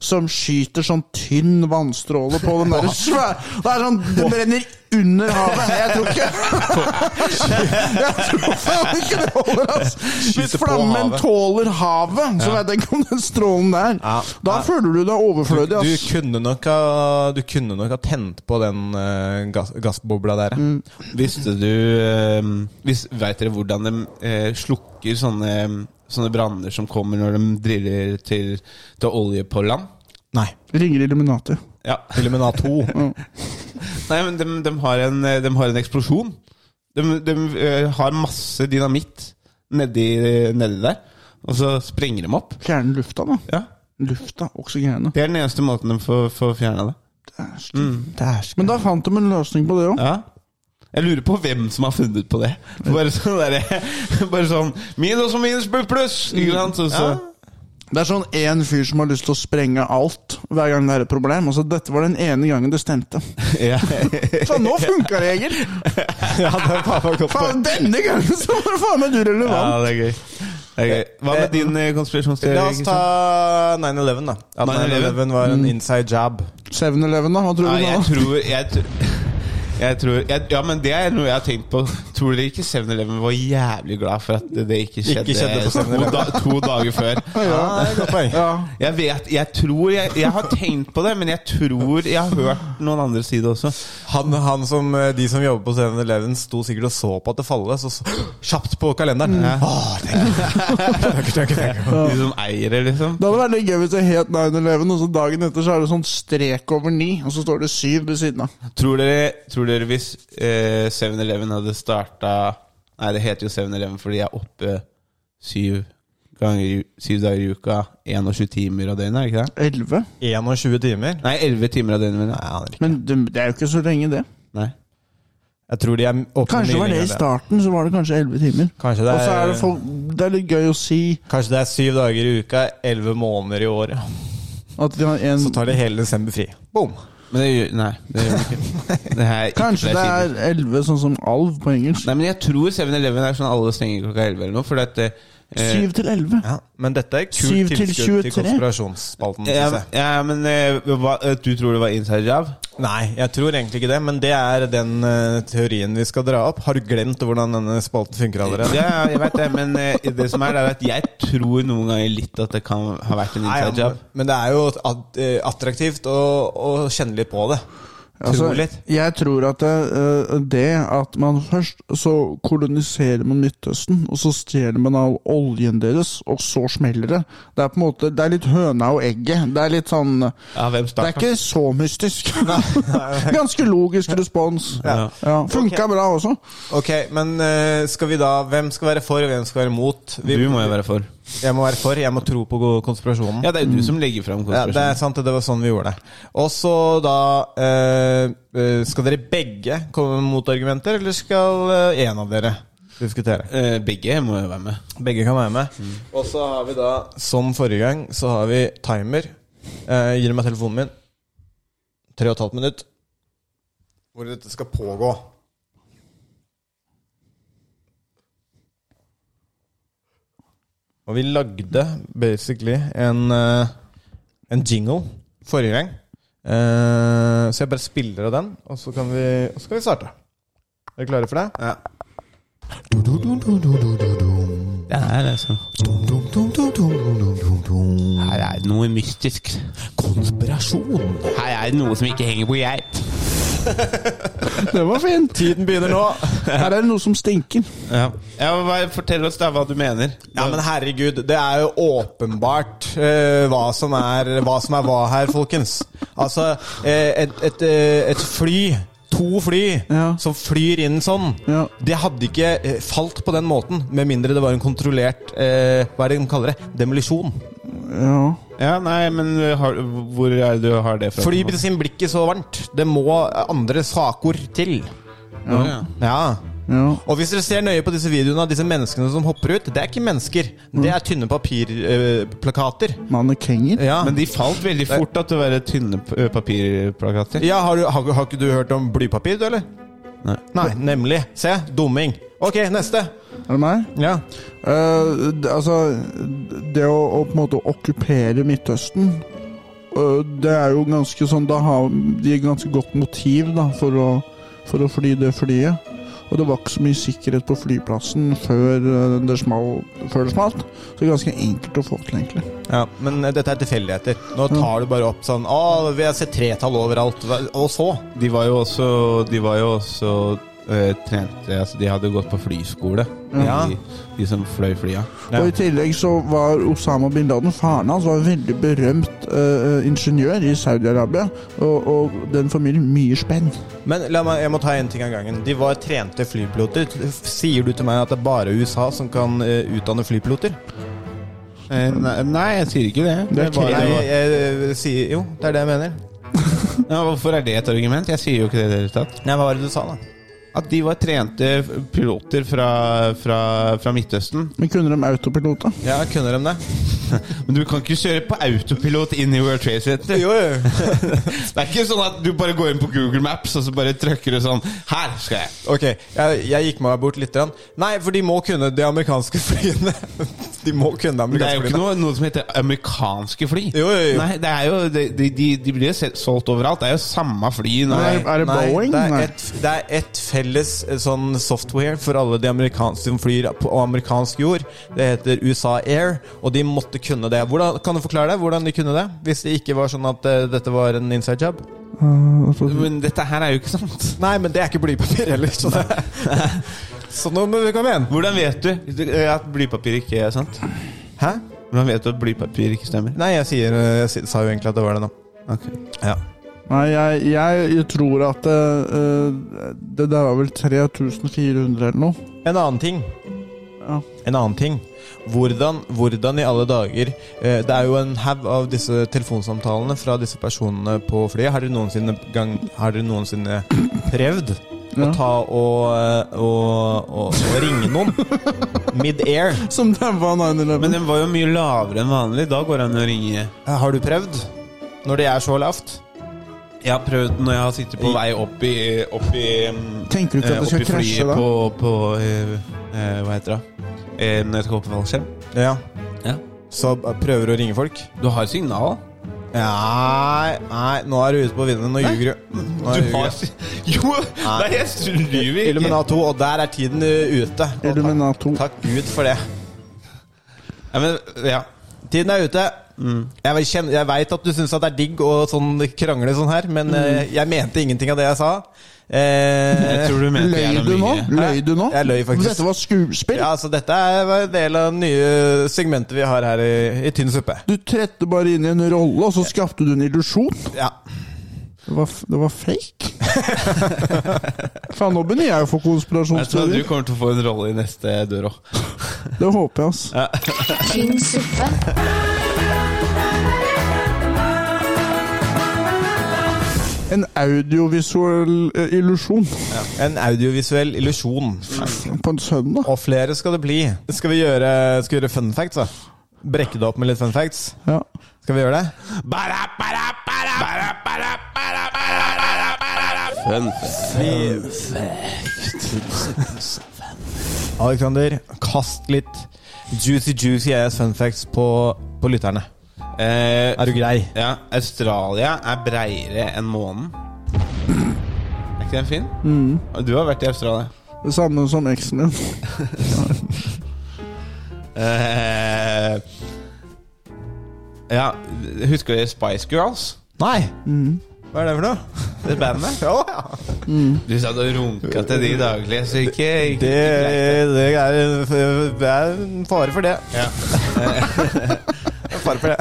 Speaker 3: Som skyter sånn tynn vannstråle på den derre svære Det er sånn, det brenner under havet! Jeg tror ikke Jeg tror faen ikke det holder, altså! Hvis
Speaker 2: Skyter på
Speaker 3: flammen
Speaker 2: havet.
Speaker 3: tåler havet, så vet jeg ikke om den strålen der
Speaker 2: Ja.
Speaker 3: Da føler du deg overflødig,
Speaker 2: Du
Speaker 3: ass.
Speaker 2: kunne nok ha, du kunne nok ha tent på den eh, gass, gassbobla der. ja.
Speaker 4: Visste du eh, vis, Vet dere hvordan de eh, slukker sånne, ehm, sånne branner som kommer når de driller til, til olje på land?
Speaker 2: Nei.
Speaker 3: Ringer Illuminati.
Speaker 4: Ja.
Speaker 2: Illuminato.
Speaker 4: Nei, men de, de, har en, eh, de har en eksplosjon De, de eh, har masse dynamitt nedi, eh, nedi der, og så sprenger de opp.
Speaker 3: Fjerne lufta, da.
Speaker 4: Ja.
Speaker 3: Lufta, oksygenet.
Speaker 4: Det er den eneste måten de får, får fjerna det.
Speaker 3: Dæsken.
Speaker 2: Mm.
Speaker 3: Men da fant de en løsning på det òg.
Speaker 4: Ja. Jeg lurer på hvem som har funnet på det. Bare sånn, der, bare sånn Minus og minus blir pluss! Ikke sant? Så, så.
Speaker 3: Det er sånn én fyr som har lyst til å sprenge alt hver gang det er et problem. Altså, dette var den ene gangen det stemte.
Speaker 4: Ja.
Speaker 3: Faen, nå funka det, Egil!
Speaker 2: Ja, det er faen meg godt poeng.
Speaker 3: Faen, denne gangen så var det faen meg du relevant!
Speaker 4: det er gøy. Det er gøy. Hva med din eh, konspirasjonsteori?
Speaker 2: La oss ta 9-11, da. At
Speaker 4: 9/11?
Speaker 2: 9-11 var en inside jab.
Speaker 3: 7-Eleven, da? Hva tror
Speaker 4: Ja,
Speaker 3: du
Speaker 4: jeg
Speaker 3: nå?
Speaker 4: tror, jeg, tr- jeg tror jeg, Ja, men det er noe jeg har tenkt på. Tror dere ikke 7-Eleven var jævlig glad for at det- det ikke skjedde,
Speaker 2: Ikke skjedde på
Speaker 4: to,
Speaker 2: 7-Eleven.
Speaker 4: da, to dager før?
Speaker 2: Ja, det er et godt poeng.
Speaker 3: Ja.
Speaker 4: Jeg vet, jeg tror jeg, jeg har tenkt på det, men jeg tror jeg har hørt noen andre si det også.
Speaker 2: Han, han som, eh, de som jobber på 7-Eleven, sto sikkert og så på at det fallet, så så- kjapt på kalenderen.
Speaker 3: Mm.
Speaker 2: Åh, tenker, tenker, tenker.
Speaker 4: De som eier det, liksom.
Speaker 3: Det hadde vært litt gøy hvis det het 9-Eleven, og så dagen etter så er det sånn strek over 9, og så står det 7 ved siden av.
Speaker 4: Tror dere, tror dere hvis eh, 7-Eleven hadde starta Nei, det heter jo 7-Eleven fordi jeg er oppe syv, ganger, i- syv dager i uka, 21 timer av døgnet, er det ikke det?
Speaker 3: 11?
Speaker 2: 21 timer.
Speaker 4: Nei, 11 timer av døgnet. mener jeg.
Speaker 2: Nei, jeg aner ikke.
Speaker 3: Men det, det er jo ikke så lenge, det.
Speaker 4: Nei.
Speaker 2: Jeg tror de er åpne
Speaker 3: Kanskje
Speaker 2: mye
Speaker 3: var det
Speaker 2: lenger
Speaker 3: i
Speaker 2: enn
Speaker 3: starten, så var det kanskje 11 timer.
Speaker 2: Kanskje det
Speaker 3: Og så
Speaker 2: er,
Speaker 3: er det, folk, det er litt gøy å si
Speaker 2: kanskje det er syv dager i uka, elleve måneder i året.
Speaker 3: at vi har en
Speaker 2: Så tar de hele desember fri. Boom!
Speaker 4: Men det gjør Nei, det gjør det ikke. Det er ikke
Speaker 3: Kanskje det
Speaker 4: sider.
Speaker 3: er 11, sånn som alv på engelsk.
Speaker 4: Nei, men jeg tror 7-Eleven er sånn alle stenger klokka 11 eller noe, fordi at eh,
Speaker 3: 7 til 11.
Speaker 2: Ja, men dette er
Speaker 3: Syv
Speaker 2: kult
Speaker 3: til
Speaker 2: tilskudd
Speaker 3: 23.
Speaker 2: til konspirasjonsspalten.
Speaker 4: ja,
Speaker 2: synes jeg.
Speaker 4: ja, men eh, hva, eh, du tror det var inside job?
Speaker 2: Nei, jeg tror egentlig ikke det, men det er den eh, teorien vi skal dra opp. Har du glemt hvordan denne spalten funker
Speaker 4: Ja,
Speaker 2: allerede?
Speaker 4: ja, jeg vet det, men eh, det som er, det er at jeg tror noen ganger litt at det kan ha vært en
Speaker 2: Nei, ja,
Speaker 4: inside
Speaker 2: men,
Speaker 4: job.
Speaker 2: men det er jo at- eh, attraktivt å, å kjenne litt på det.
Speaker 3: Altså,
Speaker 2: Tro litt.
Speaker 3: jeg tror at det, eh, det at man først så koloniserer man Midtøsten, og så stjeler man av oljen deres, og så smeller det. Det er på en måte, det er litt høna og egget. Det er litt sånn Det
Speaker 4: Ja, hvem
Speaker 3: er
Speaker 4: starta?
Speaker 3: ikke så mystisk. Ganske logisk respons.
Speaker 4: Ja.
Speaker 3: Ja, Funka bra også.
Speaker 2: Ok, men eh, skal vi da Hvem skal være for, og hvem skal være mot? Vi,
Speaker 4: Du må jo være for.
Speaker 2: Jeg må være for. Jeg må tro på go- konspirasjonen.
Speaker 4: Ja, det er jo du som legger fram
Speaker 2: Ja, det
Speaker 4: konspirasjonen.
Speaker 2: er sant, det var sånn vi gjorde det. Og så da eh, eh, Skal dere begge komme med motargumenter, eller skal eh, en av dere diskutere?
Speaker 4: Eh, begge må jo være med.
Speaker 2: Begge kan være med. Og så har vi da, som forrige gang, så har vi timer. Eh, gir du meg telefonen min? Tre og et halvt minutt. Hvor dette skal pågå. Og vi lagde basically en, eh, en jingle forrige gang. Eh, så jeg bare spiller av den, og så, kan vi, og så kan vi starte. Er dere klare for det?
Speaker 4: Ja.
Speaker 2: Dum-dum-dum-dum-dum-dum.
Speaker 4: Det er det, altså.
Speaker 2: Dum-dum-dum-dum-dum-dum-dum.
Speaker 4: Her er det noe mystisk.
Speaker 2: Konspirasjon.
Speaker 4: Her er det noe som ikke henger på geip.
Speaker 3: Det var fint.
Speaker 2: Tiden begynner nå.
Speaker 3: Her er det noe som stinker.
Speaker 4: Ja. ja, hva- Fortell oss da hva du mener.
Speaker 2: Ja, men herregud, det er jo åpenbart eh, hva, som er, hva som er hva her, folkens. Altså, eh, et, et, eh, et fly, to fly,
Speaker 3: Ja.
Speaker 2: som flyr inn sånn,
Speaker 3: Ja.
Speaker 2: det hadde ikke eh, falt på den måten, med mindre det var en kontrollert, eh, hva er det de kaller det, demolisjon.
Speaker 3: Ja.
Speaker 4: Ja, nei, men eh, har, hvor er det du har det fra?
Speaker 2: Fly sin blir ikke så varmt. Det må andre sakord til.
Speaker 4: Ja.
Speaker 2: Ja,
Speaker 3: ja.
Speaker 2: Og hvis dere ser nøye på disse videoene av disse menneskene som hopper ut, det er ikke mennesker. Det er tynne papirplakater.
Speaker 3: Mannekenger.
Speaker 2: ja.
Speaker 4: Men de falt veldig fort da, til å være tynne p- ø, papirplakater.
Speaker 2: ja, har, du, har, har ikke du hørt om blypapir, du, eller?
Speaker 4: Nei.
Speaker 2: Nei, nemlig. Se, dumming. Ok, neste.
Speaker 3: Er det meg?
Speaker 2: Ja.
Speaker 3: Eh, d- altså, det å, å på en måte okkupere Midtøsten eh, Det er jo ganske sånn Da har de et ganske godt motiv da, for, å, for å fly det flyet. Og det var ikke så mye sikkerhet på flyplassen før eh, det, smal, før det smalt. Så det er ganske enkelt å få til, egentlig.
Speaker 2: ja. Men eh, dette er tilfeldigheter. Nå tar du bare opp sånn Å, vi har sett tretall overalt. Hva- Og så?
Speaker 4: De var jo også, de var jo også eh, trente Altså, de hadde gått på flyskole,
Speaker 2: Ja.
Speaker 4: de, de som fløy flya.
Speaker 3: Og i tillegg så var Osama bin Laden Faren hans var en veldig berømt eh, ingeniør i Saudi-Arabia, og, og den formidler mye spenn.
Speaker 2: Men la meg, jeg må ta en ting av gangen. De var trente flypiloter. Sier du til meg at det er bare USA som kan eh, utdanne flypiloter?
Speaker 4: Eh, nei, nei, jeg sier ikke det.
Speaker 3: Det er
Speaker 4: var-
Speaker 3: Nei,
Speaker 2: Nei,
Speaker 4: det
Speaker 2: jeg,
Speaker 4: var-
Speaker 2: jeg sier Jo, det er det jeg mener.
Speaker 4: ja, hvorfor er det et argument? Jeg sier jo ikke det i det hele tatt.
Speaker 2: Nei, hva var det du sa, da?
Speaker 4: At de var trente f- piloter fra, fra, fra Midtøsten.
Speaker 3: Men kunne de autopilot, da?
Speaker 2: Ja, kunne de det?
Speaker 4: Men du kan ikke kjøre på autopilot inn i World Trade Center.
Speaker 2: Jo, jo.
Speaker 4: Det er ikke sånn at du bare går inn på Google Maps og så bare trykker du sånn Her skal jeg.
Speaker 2: Ok, jeg, jeg gikk meg bort litt. Grann. Nei, for de må kunne de amerikanske flyene. De må kunne de
Speaker 4: Det er
Speaker 2: amerikanske
Speaker 4: jo ikke
Speaker 2: flyene.
Speaker 4: noe, noe som heter amerikanske fly.
Speaker 2: Jo, jo, jo.
Speaker 4: Nei, det er jo, de, de, de- de blir jo se- solgt overalt. Det er jo samme fly. Nå.
Speaker 3: Nei. Er det Boeing?
Speaker 2: Det er,
Speaker 3: Nei.
Speaker 2: et, det er et felles eh, sånn software for alle de amerikanske som flyr på amerikansk jord. Det heter USA Air, og de måtte kunne det. Hvordan, kan du forklare det? Hvordan de kunne det? Hvis det ikke var sånn at eh, dette var en inside job?
Speaker 4: Men dette her er jo ikke sant.
Speaker 2: Nei, men det er ikke blypapir heller, så det Så nå må vi komme igjen.
Speaker 4: Hvordan vet du eh, at blypapir ikke er sant?
Speaker 2: Hæ?
Speaker 4: Hvordan vet du at blypapir ikke stemmer?
Speaker 2: Nei, jeg, sier, eh, jeg si- sa jo egentlig at det var det nå.
Speaker 4: Ok.
Speaker 2: Ja.
Speaker 3: Nei, jeg, jeg tror at eh, eh, det der var vel 3400 eller noe.
Speaker 2: En annen ting.
Speaker 3: Ja.
Speaker 2: En annen ting. Hvordan, hvordan i alle dager eh, Det er jo en haug av disse telefonsamtalene fra disse personene på flyet. Har dere noensinne, gang, har dere noensinne prøvd å
Speaker 3: Ja.
Speaker 2: ta og, eh, og, og, og ringe noen mid-air?
Speaker 3: Som den var 9-11.
Speaker 4: Men den var jo mye lavere enn vanlig. Da går det an å ringe.
Speaker 2: Eh, Har du prøvd? Når det er så lavt?
Speaker 4: Jeg har prøvd når jeg har sittet på vei opp i, opp i mm,
Speaker 3: Tenker du ikke
Speaker 4: Eh,
Speaker 3: at det skal
Speaker 4: oppi flyet
Speaker 3: krasje da?
Speaker 4: På, på eh, eh, Hva heter det? Eh, når jeg skal hoppe fallskjerm.
Speaker 2: Ja.
Speaker 4: Ja.
Speaker 2: Så eh, prøver du å ringe folk?
Speaker 4: Du har signal.
Speaker 2: Nei, nei, nå er du ute på vinden. Nå ljuger du. Nå er
Speaker 4: Du
Speaker 2: du
Speaker 4: har
Speaker 2: ljuger.
Speaker 4: si jo! Nei, jeg lyver ikke.
Speaker 2: Illuminato, og der er tiden eh, ute. Og takk,
Speaker 3: Illuminato.
Speaker 2: takk Gud for det.
Speaker 4: Ja, men, ja.
Speaker 2: Tiden er ute.
Speaker 4: Mm.
Speaker 2: Jeg, vil kjenne- jeg veit at du syns det er digg å sånn krangle sånn her, men eh, jeg mente ingenting av det jeg sa.
Speaker 4: Mm. Jeg
Speaker 2: Eh,
Speaker 4: tror du mente
Speaker 3: Løy
Speaker 4: jeg
Speaker 3: du
Speaker 4: løy
Speaker 3: nå?
Speaker 4: mye.
Speaker 3: Løy du nå?
Speaker 2: Jeg løy faktisk.
Speaker 3: Dette var skuespill?
Speaker 2: ja, altså Dette er var en del av det nye segmentet vi har her i, i Tynn suppe.
Speaker 3: Du tredte bare inn i en rolle, og så skapte du en illusjon?
Speaker 2: Ja.
Speaker 3: Det var, det var fake? Faen, nå begynner jeg å få
Speaker 4: Jeg tror du
Speaker 3: konspirasjonsteorier.
Speaker 4: kommer til å få en rolle i neste dør òg.
Speaker 3: Det håper jeg, ass.
Speaker 1: Tynn suppe.
Speaker 3: En audiovisuell eh, illusjon
Speaker 2: En audiovisuell illusjon.
Speaker 4: Mm.
Speaker 3: på en søndag.
Speaker 2: Og flere skal det bli. Skal vi gjøre, skal vi gjøre fun facts, da? Brekke det opp med litt fun facts?
Speaker 3: Ja.
Speaker 2: Skal vi gjøre det?
Speaker 4: Fun.
Speaker 2: Alexander, kast litt juicy juicy ass fun facts på, på lytterne.
Speaker 4: Eh,
Speaker 2: Er du grei?
Speaker 4: ja, Australia er breiere enn månen. Er ikke den fin?
Speaker 2: Mm.
Speaker 4: Og Du har vært i Australia.
Speaker 3: Det samme som eksen min.
Speaker 4: Eh, ja, husker dere Spice Girls?
Speaker 2: Nei! Hva er det for noe?
Speaker 4: Det bandet?
Speaker 2: Ja, ja.
Speaker 4: Du satt og runka til de daglig, så ikke, ikke
Speaker 2: Det, det, er, det er en fare for det.
Speaker 4: Ja.
Speaker 2: En fare for det.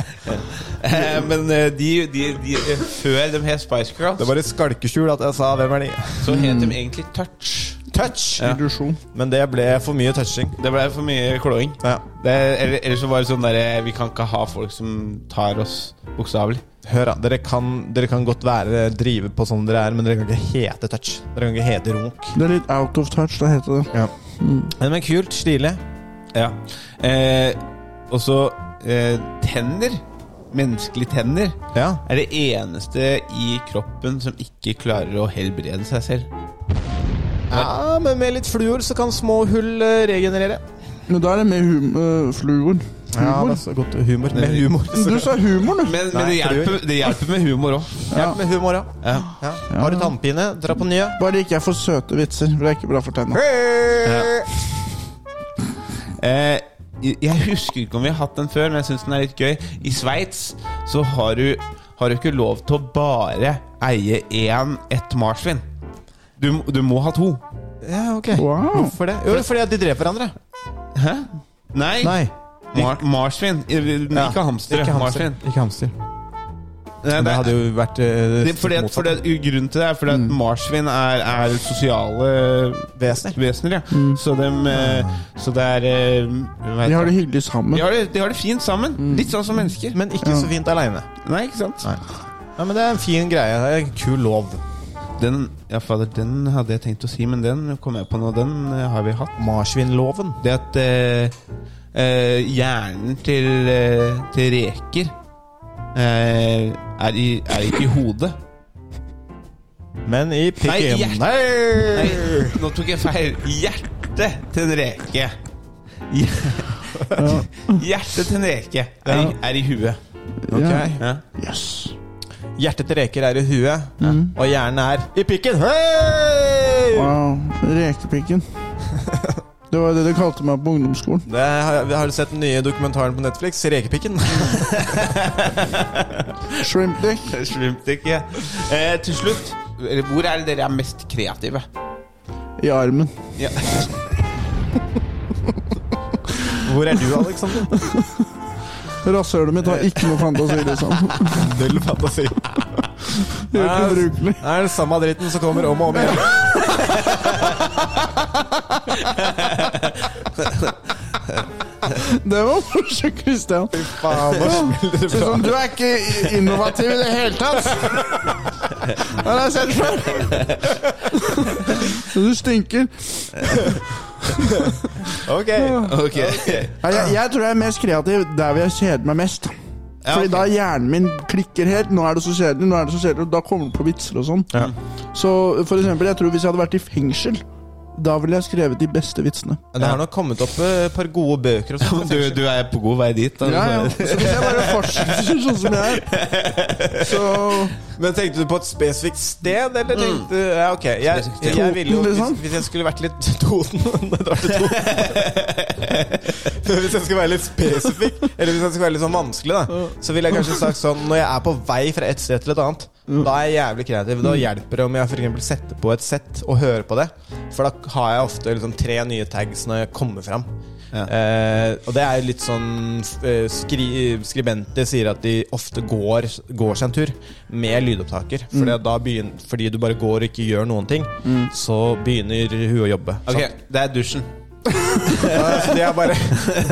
Speaker 4: Eh, Men eh, de, de, de eh, Før de het Spice Girls,
Speaker 2: Det var i skalkeskjul at jeg sa 'hvem er de'?
Speaker 4: så het de egentlig Touch.
Speaker 2: Touch!
Speaker 3: Illusjon.
Speaker 2: Men det ble for mye touching.
Speaker 4: Det ble for mye klåing.
Speaker 2: Ja.
Speaker 4: Det, eller, eller så var det sånn derre Vi kan ikke ha folk som tar oss bokstavelig.
Speaker 2: Hør, da. Dere kan, dere kan godt være drive på sånn dere er, men dere kan ikke hete touch. Dere kan ikke hete runk.
Speaker 3: Det er litt out of touch, da heter det.
Speaker 2: Men, men kult. Stilig.
Speaker 4: Ja. Eh, Og så eh, tenner. Menneskelige tenner
Speaker 2: Ja.
Speaker 4: er det eneste i kroppen som ikke klarer å helbrede seg selv.
Speaker 2: ja, men med litt fluor så kan små hull eh, regenerere.
Speaker 3: Men da er det med hum eh, fluor.
Speaker 2: Ja,
Speaker 3: Humor.
Speaker 2: det er så godt humor. Med humor.
Speaker 3: Du sa humor, du.
Speaker 4: Men, men det,
Speaker 2: Nei, fluor.
Speaker 4: hjelper, det hjelper med humor òg.
Speaker 2: Hjelp med humor, ja.
Speaker 4: Ja.
Speaker 2: ja. Har du tannpine, dra på nye.
Speaker 3: Bare ikke jeg får søte vitser, for det er ikke bra for tenna.
Speaker 2: Ja.
Speaker 4: Eh, jeg- jeg husker ikke om vi har hatt den før, men jeg syns den er litt gøy. I Sveits så har du, har du ikke lov til å bare eie én ett marsvin. Du, m- du må ha to.
Speaker 2: Ja, ok.
Speaker 3: Wow.
Speaker 2: Hvorfor det? Jo, fordi at de dreper hverandre.
Speaker 4: Hæ? Nei.
Speaker 2: Nei.
Speaker 4: Mar marsvin. Eh, Ikke hamstere.
Speaker 2: Ikke hamster.
Speaker 4: marsvin.
Speaker 2: Ikke hamster.
Speaker 4: Nei,
Speaker 2: Men
Speaker 4: det
Speaker 2: det
Speaker 4: er-
Speaker 2: hadde jo vært eh,
Speaker 4: Det, fordi at,
Speaker 2: motsatt. Mm.
Speaker 4: fordi at, grunnen til det er fordi at marsvin er, er sosiale
Speaker 2: Vesener. Mm.
Speaker 4: vesener. Ja. Så, dem, eh, så det er eh, hva heter
Speaker 3: De har det hyggelig sammen.
Speaker 4: de har det, de har det fint sammen. Litt sånn som mennesker.
Speaker 2: Mm. Men ikke så fint aleine.
Speaker 4: Nei, ikke sant?
Speaker 2: Ja, men det er en fin greie. Det er en kul lov.
Speaker 4: Den, ja, fader, den hadde jeg tenkt å si, men den kom jeg på nå. Den eh, har vi hatt.
Speaker 2: Marsvinloven.
Speaker 4: Det at eh, eh, hjernen til, eh, til reker eh, er, i, er ikke i hodet.
Speaker 2: Men i pikken
Speaker 4: hjert-
Speaker 2: Nei!
Speaker 4: Nei, nå tok jeg feil. Hjertet til en reke. Hjer- Hjertet til en reke er, i- er i huet.
Speaker 3: Ja.
Speaker 2: Ok.
Speaker 4: Ja.
Speaker 3: Yes.
Speaker 2: Hjertet til reker er i huet, og hjernen er i pikken. Hei!
Speaker 3: Wow. Rekepikken. Det var det de kalte meg på ungdomsskolen.
Speaker 2: Det har, har du sett den nye dokumentaren på Netflix? Rekepikken.
Speaker 3: Shrimp dick.
Speaker 4: Slumt ikke. Eh, til slutt, hvor er det dere er mest kreative?
Speaker 3: I armen.
Speaker 4: Ja.
Speaker 2: Hvor er du, Alexander?
Speaker 3: Rasshølet mitt har ikke noe fantasi, liksom.
Speaker 2: Null fantasi.
Speaker 3: Helt
Speaker 2: Nei,
Speaker 3: ubrukelig.
Speaker 2: Det er den samme dritten som kommer om og om igjen.
Speaker 3: Det var morsomt, Christian. Sånn, du er ikke innovativ i det hele tatt! Det har jeg sett før! Du stinker.
Speaker 2: Ok.
Speaker 4: Ok.
Speaker 3: Nei, Jeg, jeg tror jeg er mest kreativ der hvor jeg kjeder meg mest.
Speaker 4: Ja,
Speaker 3: Fordi
Speaker 4: ok.
Speaker 3: da hjernen min klikker helt. Nå er det så kjedelig, nå er det så kjedelig, og da kommer det på vitser og sånn. Så for eksempel, jeg tror hvis jeg hadde vært i fengsel, da ville jeg skrevet de beste vitsene.
Speaker 2: Det har nok kommet opp eh, et par gode bøker. Og sånt.
Speaker 4: Du, du er på god vei dit. da.
Speaker 3: Ja, ja. Så hvis jeg bare fortsetter sånn som jeg er, så
Speaker 2: Men tenkte du på et spesifikt sted, eller tenkte du Ja, ok. Jeg,
Speaker 4: Spesifikt
Speaker 2: jeg,
Speaker 4: sted.
Speaker 2: jeg ville jo,
Speaker 3: Mm.
Speaker 2: hvis,
Speaker 3: Toten, liksom?
Speaker 2: hvis jeg skulle vært litt Toten Da drar jeg til Toten. Men Hvis jeg skulle være litt spesifikk, eller hvis jeg skulle være litt sånn vanskelig, da, så ville jeg kanskje sagt sånn Når jeg er på vei fra et sted til et annet, da er jeg jævlig kreativ. Da hjelper det om jeg for eksempel setter på et sett og hører på det. For da har jeg ofte liksom tre nye tags når jeg kommer fram.
Speaker 4: Ja.
Speaker 2: Eh, og det er litt sånn eh, skri, Skribenter sier at de ofte går, går seg en tur med lydopptaker. Fordi, da begyn- fordi du bare går og ikke gjør noen ting, så begynner hun å jobbe.
Speaker 4: Ok,
Speaker 2: sant?
Speaker 4: det er dusjen.
Speaker 2: Eh, så de har bare,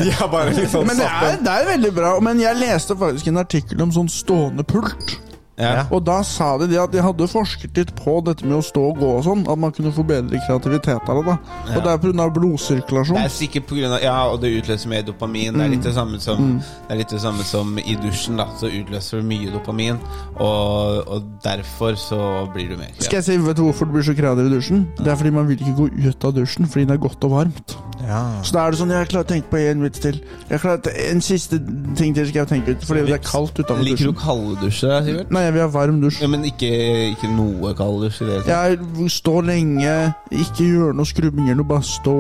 Speaker 2: de har bare liksom
Speaker 3: Men det
Speaker 2: satt
Speaker 3: er,
Speaker 2: en-
Speaker 3: det er veldig bra. Men jeg leste faktisk en artikkel om sånn stående pult.
Speaker 4: Ja.
Speaker 3: Og da sa de det at de hadde forsket litt på dette med å stå og gå og sånn. At man kunne få bedre kreativitet av det. da Og det er pga. blodsirkulasjon.
Speaker 4: Det er sikkert på grunn av Ja, og det utløser mer dopamin. Det er litt det samme som, det er litt det samme som i dusjen, da. Så utløser det mye dopamin, og, og derfor så blir du mer kreativ.
Speaker 3: Skal jeg si vet du hvorfor du blir så kreativ i dusjen? Det er fordi man vil ikke gå ut av dusjen fordi det er godt og varmt.
Speaker 2: ja.
Speaker 3: Så da er det sånn Jeg klarer å tenke på en vits til. Jeg klarer å- En siste ting til skal jeg tenke ut fordi det er kaldt utenfor
Speaker 4: Liker du
Speaker 3: dusjen.
Speaker 4: kalddusje, Sivert?
Speaker 3: Nei, jeg vil ha varm dusj.
Speaker 4: Ja, men ikke, ikke noe kalddusj i det hele tatt?
Speaker 3: Jeg står lenge, ikke gjør noe skrubbinger, noe bare stå.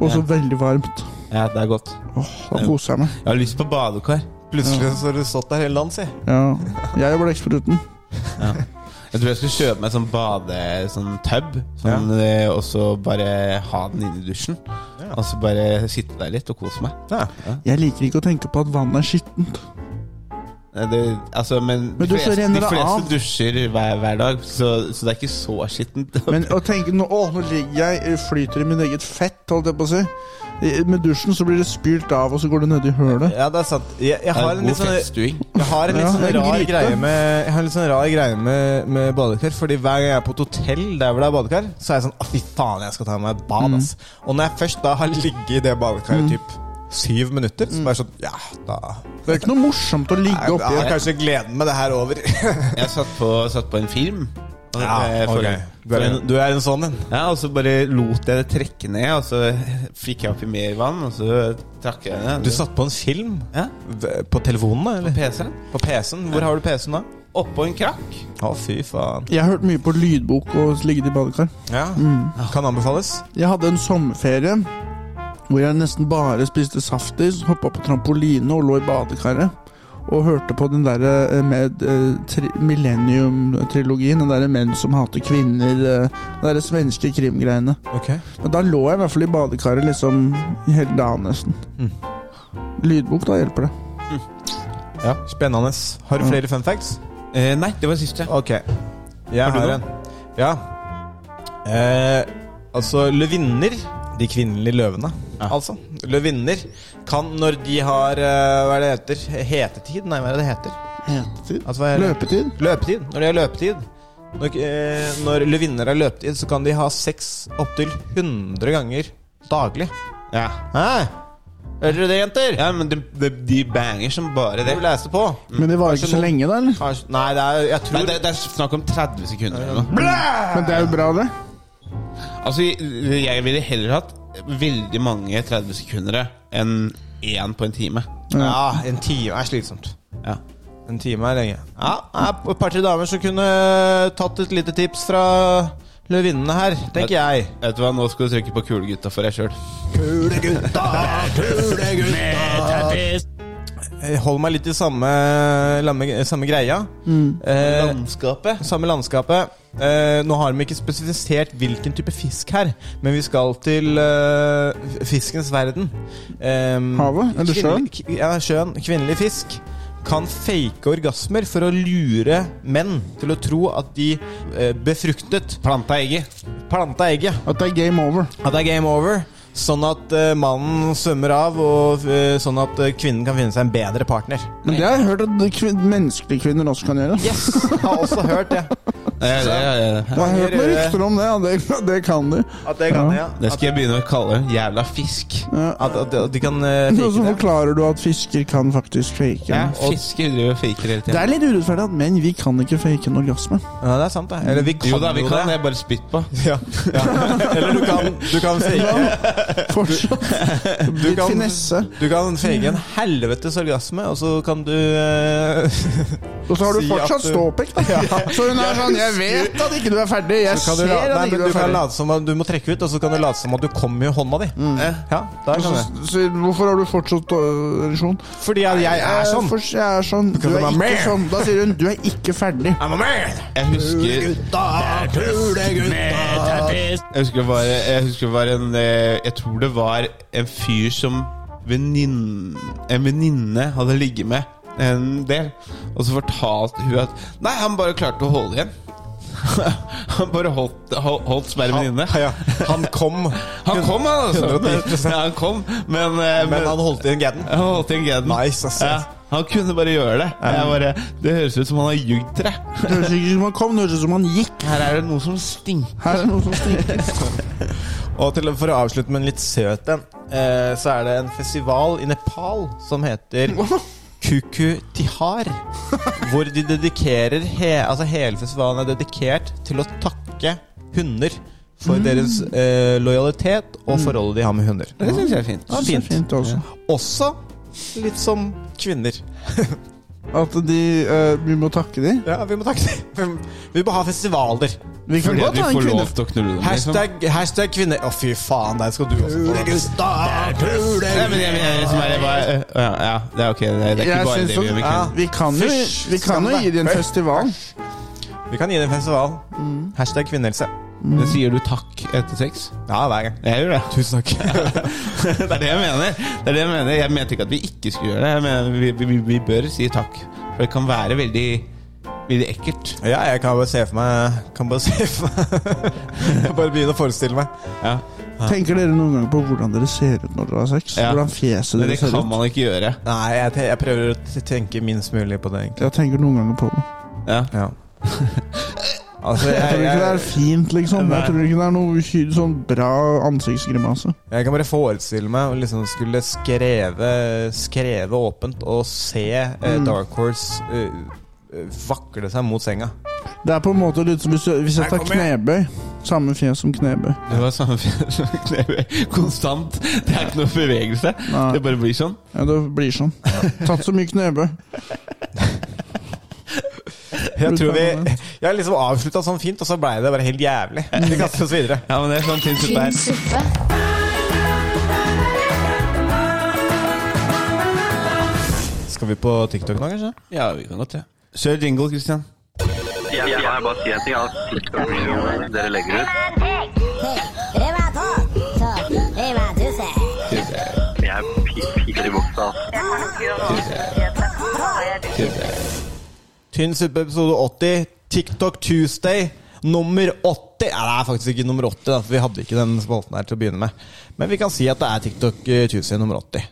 Speaker 3: Og så veldig varmt.
Speaker 4: Ja, det er godt.
Speaker 3: Åh, da koser jeg meg.
Speaker 4: Jeg har lyst på badekar.
Speaker 2: Plutselig så har du stått der hele dagen, si.
Speaker 3: Ja. Jeg er blekkspruten.
Speaker 4: Jeg tror jeg skal kjøpe meg sånn bade... Sånn tub, sånn, eh, og så bare ha den inne i dusjen. Og så bare sitte der litt og kose meg.
Speaker 2: Ja.
Speaker 3: Jeg liker ikke å tenke på at vannet er skittent.
Speaker 4: Nei, Det, altså, men
Speaker 3: Men du, så renner
Speaker 4: de
Speaker 3: det
Speaker 4: fleste
Speaker 3: av.
Speaker 4: dusjer hver, hver dag, så, så det er ikke så skittent.
Speaker 3: Men å tenke nå, åh, nå ligger jeg, eh, flyter i min eget fett, holdt jeg på å si. I- Med dusjen så blir det spylt av, og så går det nedi hølet.
Speaker 2: ja, det er sant. Jeg, jeg
Speaker 4: Det
Speaker 2: har en
Speaker 4: er god
Speaker 2: litt sånn
Speaker 4: fettstuing.
Speaker 2: Jeg har en litt
Speaker 3: Ja,
Speaker 2: sånn
Speaker 3: det er
Speaker 2: rar
Speaker 3: gryte.
Speaker 2: greie med Jeg har en litt sånn rar greie med, med badekar. Fordi hver gang jeg er på et hotell der hvor det er badekar, så er jeg sånn «Å, Fy faen, jeg skal ta meg et
Speaker 3: Mm.
Speaker 2: bad, ass. Og når jeg først da har ligget i det badekaret i typ syv minutter,
Speaker 3: Mm.
Speaker 2: så bare sånn Ja, da
Speaker 3: Det er ikke noe morsomt å ligge
Speaker 2: Jeg
Speaker 3: oppi
Speaker 2: har
Speaker 3: her.
Speaker 2: kanskje gleden med det her over.
Speaker 4: Jeg satt på, satt på en film. og- eh, for-
Speaker 2: Du er en, du er en sånn en.
Speaker 4: Ja, og så bare lot jeg det trekke ned, og så fikk jeg oppi mer vann, og så trakk jeg det.
Speaker 2: Du satt på en film?
Speaker 4: Ja.
Speaker 2: V- På telefonen, da?
Speaker 4: på
Speaker 2: Eller?
Speaker 4: PC-en.
Speaker 2: På PC-en? Hvor har du PC-en, da?
Speaker 4: Oppå en krakk.
Speaker 2: Å, fy faen.
Speaker 3: Jeg har hørt mye på lydbok og ligget i badekar.
Speaker 2: Ja. Mm. Kan anbefales.
Speaker 3: Jeg hadde en sommerferie hvor jeg nesten bare spiste saftis, hoppa på trampoline og lå i badekaret. og hørte på den derre eh, med eh, tri Millennium-trilogien. Den derre Menn som hater kvinner. eh, Den derre svenske krimgreiene.
Speaker 2: Ok.
Speaker 3: Men da lå jeg i hvert fall i badekaret liksom hele dagen nesten.
Speaker 2: Mm.
Speaker 3: Lydbok, da hjelper det.
Speaker 2: Ja, Mm. Spennende. Har du flere fun facts?
Speaker 4: Eh, nei, det var siste.
Speaker 2: Ok. Jeg har,
Speaker 4: du noe?
Speaker 2: en. Ja. Eh, altså, løvinner De kvinnelige løvene, altså. Løvinner kan, når de har eh, Hva er det det heter? Hetetid? Nei, hva er det det heter?
Speaker 3: Hetetid?
Speaker 2: Altså, hva er det?
Speaker 3: Løpetid?
Speaker 2: Løpetid. Når de har løpetid. Når, eh, når løvinner har løpetid, så kan de ha sex opptil 100 ganger daglig.
Speaker 4: Ja.
Speaker 2: Hæ? Hører dere det, jenter?
Speaker 4: ja, men de, de, de banger som bare det.
Speaker 2: Du leste på.
Speaker 3: Men det varer ikke så lenge, da? eller?
Speaker 2: Mm. Kanskje, nei, det er, jeg tror
Speaker 4: Nei, det, det er snakk om 30 sekunder eller noe.
Speaker 3: Men det er jo bra, det.
Speaker 4: Altså, jeg ville heller hatt veldig mange 30 sekundere enn én på en time.
Speaker 2: Ja, en time er slitsomt.
Speaker 4: Ja.
Speaker 2: En time er lenge. Ja, det er Et par-tre damer som kunne eh, tatt et lite tips fra løvinnene her, tenker jeg.
Speaker 4: Vet du hva, Nå skal du trykke på kulegutta for deg sjøl.
Speaker 2: Jeg holder meg litt i samme, lamme, samme greia.
Speaker 3: Mm.
Speaker 2: Eh, landskapet. Samme landskapet. Eh, nå har de ikke spesifisert hvilken type fisk her, men vi skal til eh, fiskens verden. Eh,
Speaker 3: Havet? Eller sjøen?
Speaker 2: kvinnelig- k- Ja, sjøen. Kvinnelig fisk kan fake orgasmer for å lure menn til å tro at de eh, befruktet
Speaker 4: Planta egget.
Speaker 2: planta egget.
Speaker 3: At det er game over.
Speaker 2: At det er game over. Sånn at eh, mannen svømmer av, og eh, sånn at eh, kvinnen kan finne seg en bedre partner.
Speaker 3: Men det har jeg hørt at kvin menneskelige kvinner også kan gjøre.
Speaker 2: Yes, jeg har også hørt det.
Speaker 4: Ja, ja, ja, ja.
Speaker 3: Jeg har hørt noen rykter om det, ja. Det, det kan de.
Speaker 2: At det kan ja.
Speaker 4: Det skal jeg begynne å kalle jævla fisk.
Speaker 2: At, at, at de kan eh,
Speaker 3: Og så
Speaker 2: fake det.
Speaker 3: forklarer du at fisker kan faktisk fake.
Speaker 4: Ja,
Speaker 3: en-
Speaker 4: fisker driver og faker hele
Speaker 3: Det
Speaker 4: tiden.
Speaker 3: er litt urettferdig at menn, vi kan ikke fake en orgasme.
Speaker 2: Ja, det er sant, det. Eller vi kan
Speaker 4: Jo da, vi
Speaker 2: jo
Speaker 4: kan
Speaker 2: det.
Speaker 4: det. Bare spytt på.
Speaker 2: Ja. Ja. Eller du kan, du kan fake
Speaker 3: Fortsatt. Litt
Speaker 2: kan-
Speaker 3: finesse.
Speaker 2: Du kan fake en helvetes orgasme, og så kan du eh,
Speaker 3: Og så har du
Speaker 2: Si at
Speaker 3: fortsatt
Speaker 2: du-
Speaker 3: ståpikk. da. Så hun er sånn Jeg vet at ikke du er ferdig. Jeg
Speaker 2: kan du,
Speaker 3: ser
Speaker 2: la, nei,
Speaker 3: at
Speaker 2: men
Speaker 3: ikke du
Speaker 2: du,
Speaker 3: er
Speaker 2: kan
Speaker 3: ferdig.
Speaker 2: late som at du må trekke ut, og så kan du late som at du kommer i hånda di. Ja, der
Speaker 3: Så,
Speaker 2: kan du.
Speaker 3: så, hvorfor har du fortsatt øh, ereksjon?
Speaker 2: Fordi at jeg er sånn.
Speaker 3: Eh, For, jeg er sånn. Du
Speaker 2: du
Speaker 3: er
Speaker 2: være
Speaker 3: ikke
Speaker 2: med?
Speaker 3: sånn. Da sier hun 'du er ikke ferdig'.
Speaker 2: I'm a man!
Speaker 4: Jeg husker Jeg husker det var, jeg husker det var en eh, Jeg tror det var en fyr som venninne, En venninne hadde ligget med en del. Og så fortalte hun at Nei, han bare klarte å holde igjen. Han bare holdt, hol- holdt spermen inne.
Speaker 2: Ja, han kom,
Speaker 4: Han kom, han, altså.
Speaker 2: 110%.
Speaker 4: Ja, han kom, men, eh,
Speaker 2: men han holdt igjen gadden.
Speaker 4: han holdt igjen gaden.
Speaker 2: Nice, ass.
Speaker 4: Ja, han kunne bare gjøre det. Jeg bare, det høres ut som han har ljugd til deg.
Speaker 3: Det høres ikke ut som han kom, det høres ut som han gikk.
Speaker 4: Her er det noe som stinker.
Speaker 3: Her er det noe som stikker.
Speaker 2: Og til, for å avslutte med en litt søt en, eh, så er det en festival i Nepal som heter Kuku Tihar. Hvor de dedikerer he, Altså hele festivalen er dedikert til å takke hunder
Speaker 4: Mm.
Speaker 2: for deres eh, lojalitet og forholdet de har med hunder.
Speaker 4: Det syns jeg er fint.
Speaker 2: Ja, fint.
Speaker 3: Fint også.
Speaker 2: Også litt som kvinner.
Speaker 3: At de øh, Vi må takke de.
Speaker 2: Ja, vi må takke dem. Vi må ha festivaler.
Speaker 3: Vi kan
Speaker 4: Fordi
Speaker 3: godt
Speaker 4: du
Speaker 3: ha en
Speaker 4: får
Speaker 3: kvinne.
Speaker 4: lov til å knulle dem. liksom.
Speaker 2: Hashtag, hashtag kvinner... Å, fy faen, der skal du også få det.
Speaker 4: Nei, men jeg, jeg, jeg, liksom, er det bare, øh, ja, ja, det er ok. Det, det er ikke
Speaker 3: Jeg
Speaker 4: bare det
Speaker 3: synes sånn-
Speaker 4: vi gjør med
Speaker 3: at-
Speaker 4: kvinner.
Speaker 3: Vi kan jo,
Speaker 2: Fysj,
Speaker 3: vi kan jo
Speaker 2: skam
Speaker 3: gi
Speaker 2: deg.
Speaker 3: dem en festival.
Speaker 2: Vi kan gi det en festival.
Speaker 4: Mm.
Speaker 2: Hashtag kvinnehelse.
Speaker 4: Men Sier du takk etter sex?
Speaker 2: Ja, hver gang.
Speaker 4: Jeg gjør det. Tusen takk. det er det jeg mener. Det er det Jeg mener Jeg mente ikke at vi ikke skulle gjøre det. Jeg mener, vi, vi, vi bør si takk. For det kan være veldig Veldig ekkelt.
Speaker 2: Ja, jeg kan bare se for meg Kan bare se for meg Jeg Bare begynne å forestille meg.
Speaker 4: Ja.
Speaker 3: Tenker dere noen gang på hvordan dere ser ut når dere har sex?
Speaker 4: Ja.
Speaker 3: Hvordan fjeset
Speaker 4: Men
Speaker 3: dere
Speaker 4: det
Speaker 3: ser
Speaker 4: kan
Speaker 3: ut?
Speaker 4: man ikke gjøre.
Speaker 2: Nei, jeg, te- jeg prøver å t- tenke minst mulig på det, egentlig.
Speaker 3: Jeg tenker noen ganger på det.
Speaker 4: Ja.
Speaker 2: Ja. Altså,
Speaker 3: Jeg
Speaker 2: jeg,
Speaker 3: tror ikke det er
Speaker 2: jeg,
Speaker 3: fint, liksom.
Speaker 4: Nei.
Speaker 3: Jeg tror ikke det er noe hy- sånn bra ansiktsgrimase.
Speaker 2: jeg kan bare forestille meg å liksom skulle skreve Skreve åpent og se eh,
Speaker 4: Mm.
Speaker 2: Dark Horse eh, eh, vakle seg mot senga.
Speaker 3: Det er på en måte litt som hvis, du- hvis jeg tar knebøy. Samme fjes som knebøy.
Speaker 4: Det var samme Konstant. Det er ikke noe bevegelse.
Speaker 3: Nei.
Speaker 4: Det bare blir sånn.
Speaker 3: Ja, det blir sånn. Tatt så mye knebøy.
Speaker 2: Jeg tror vi Jeg har liksom avslutta sånn fint, og så blei det bare helt jævlig. Vi kaster oss videre.
Speaker 4: Ja, men det er sånn ting som det er.
Speaker 1: Kinsuppe.
Speaker 2: Skal Skal vi på TikTok nå, kanskje?
Speaker 4: Ja, vi kan godt det. Ja. Kjør jingle, Christian.
Speaker 6: Jeg, jeg, jeg bare sier en ting. Altså, TikTok-videoene dere legger ut Jeg er pi- piker i buksa.
Speaker 2: Tynn suppe episode 80. TikTok Tuesday nummer 80. Nei, det er faktisk ikke nummer 80, da, for vi hadde ikke den spalten her til å begynne med. Men vi kan si at det er TikTok eh, Tuesday nummer 80.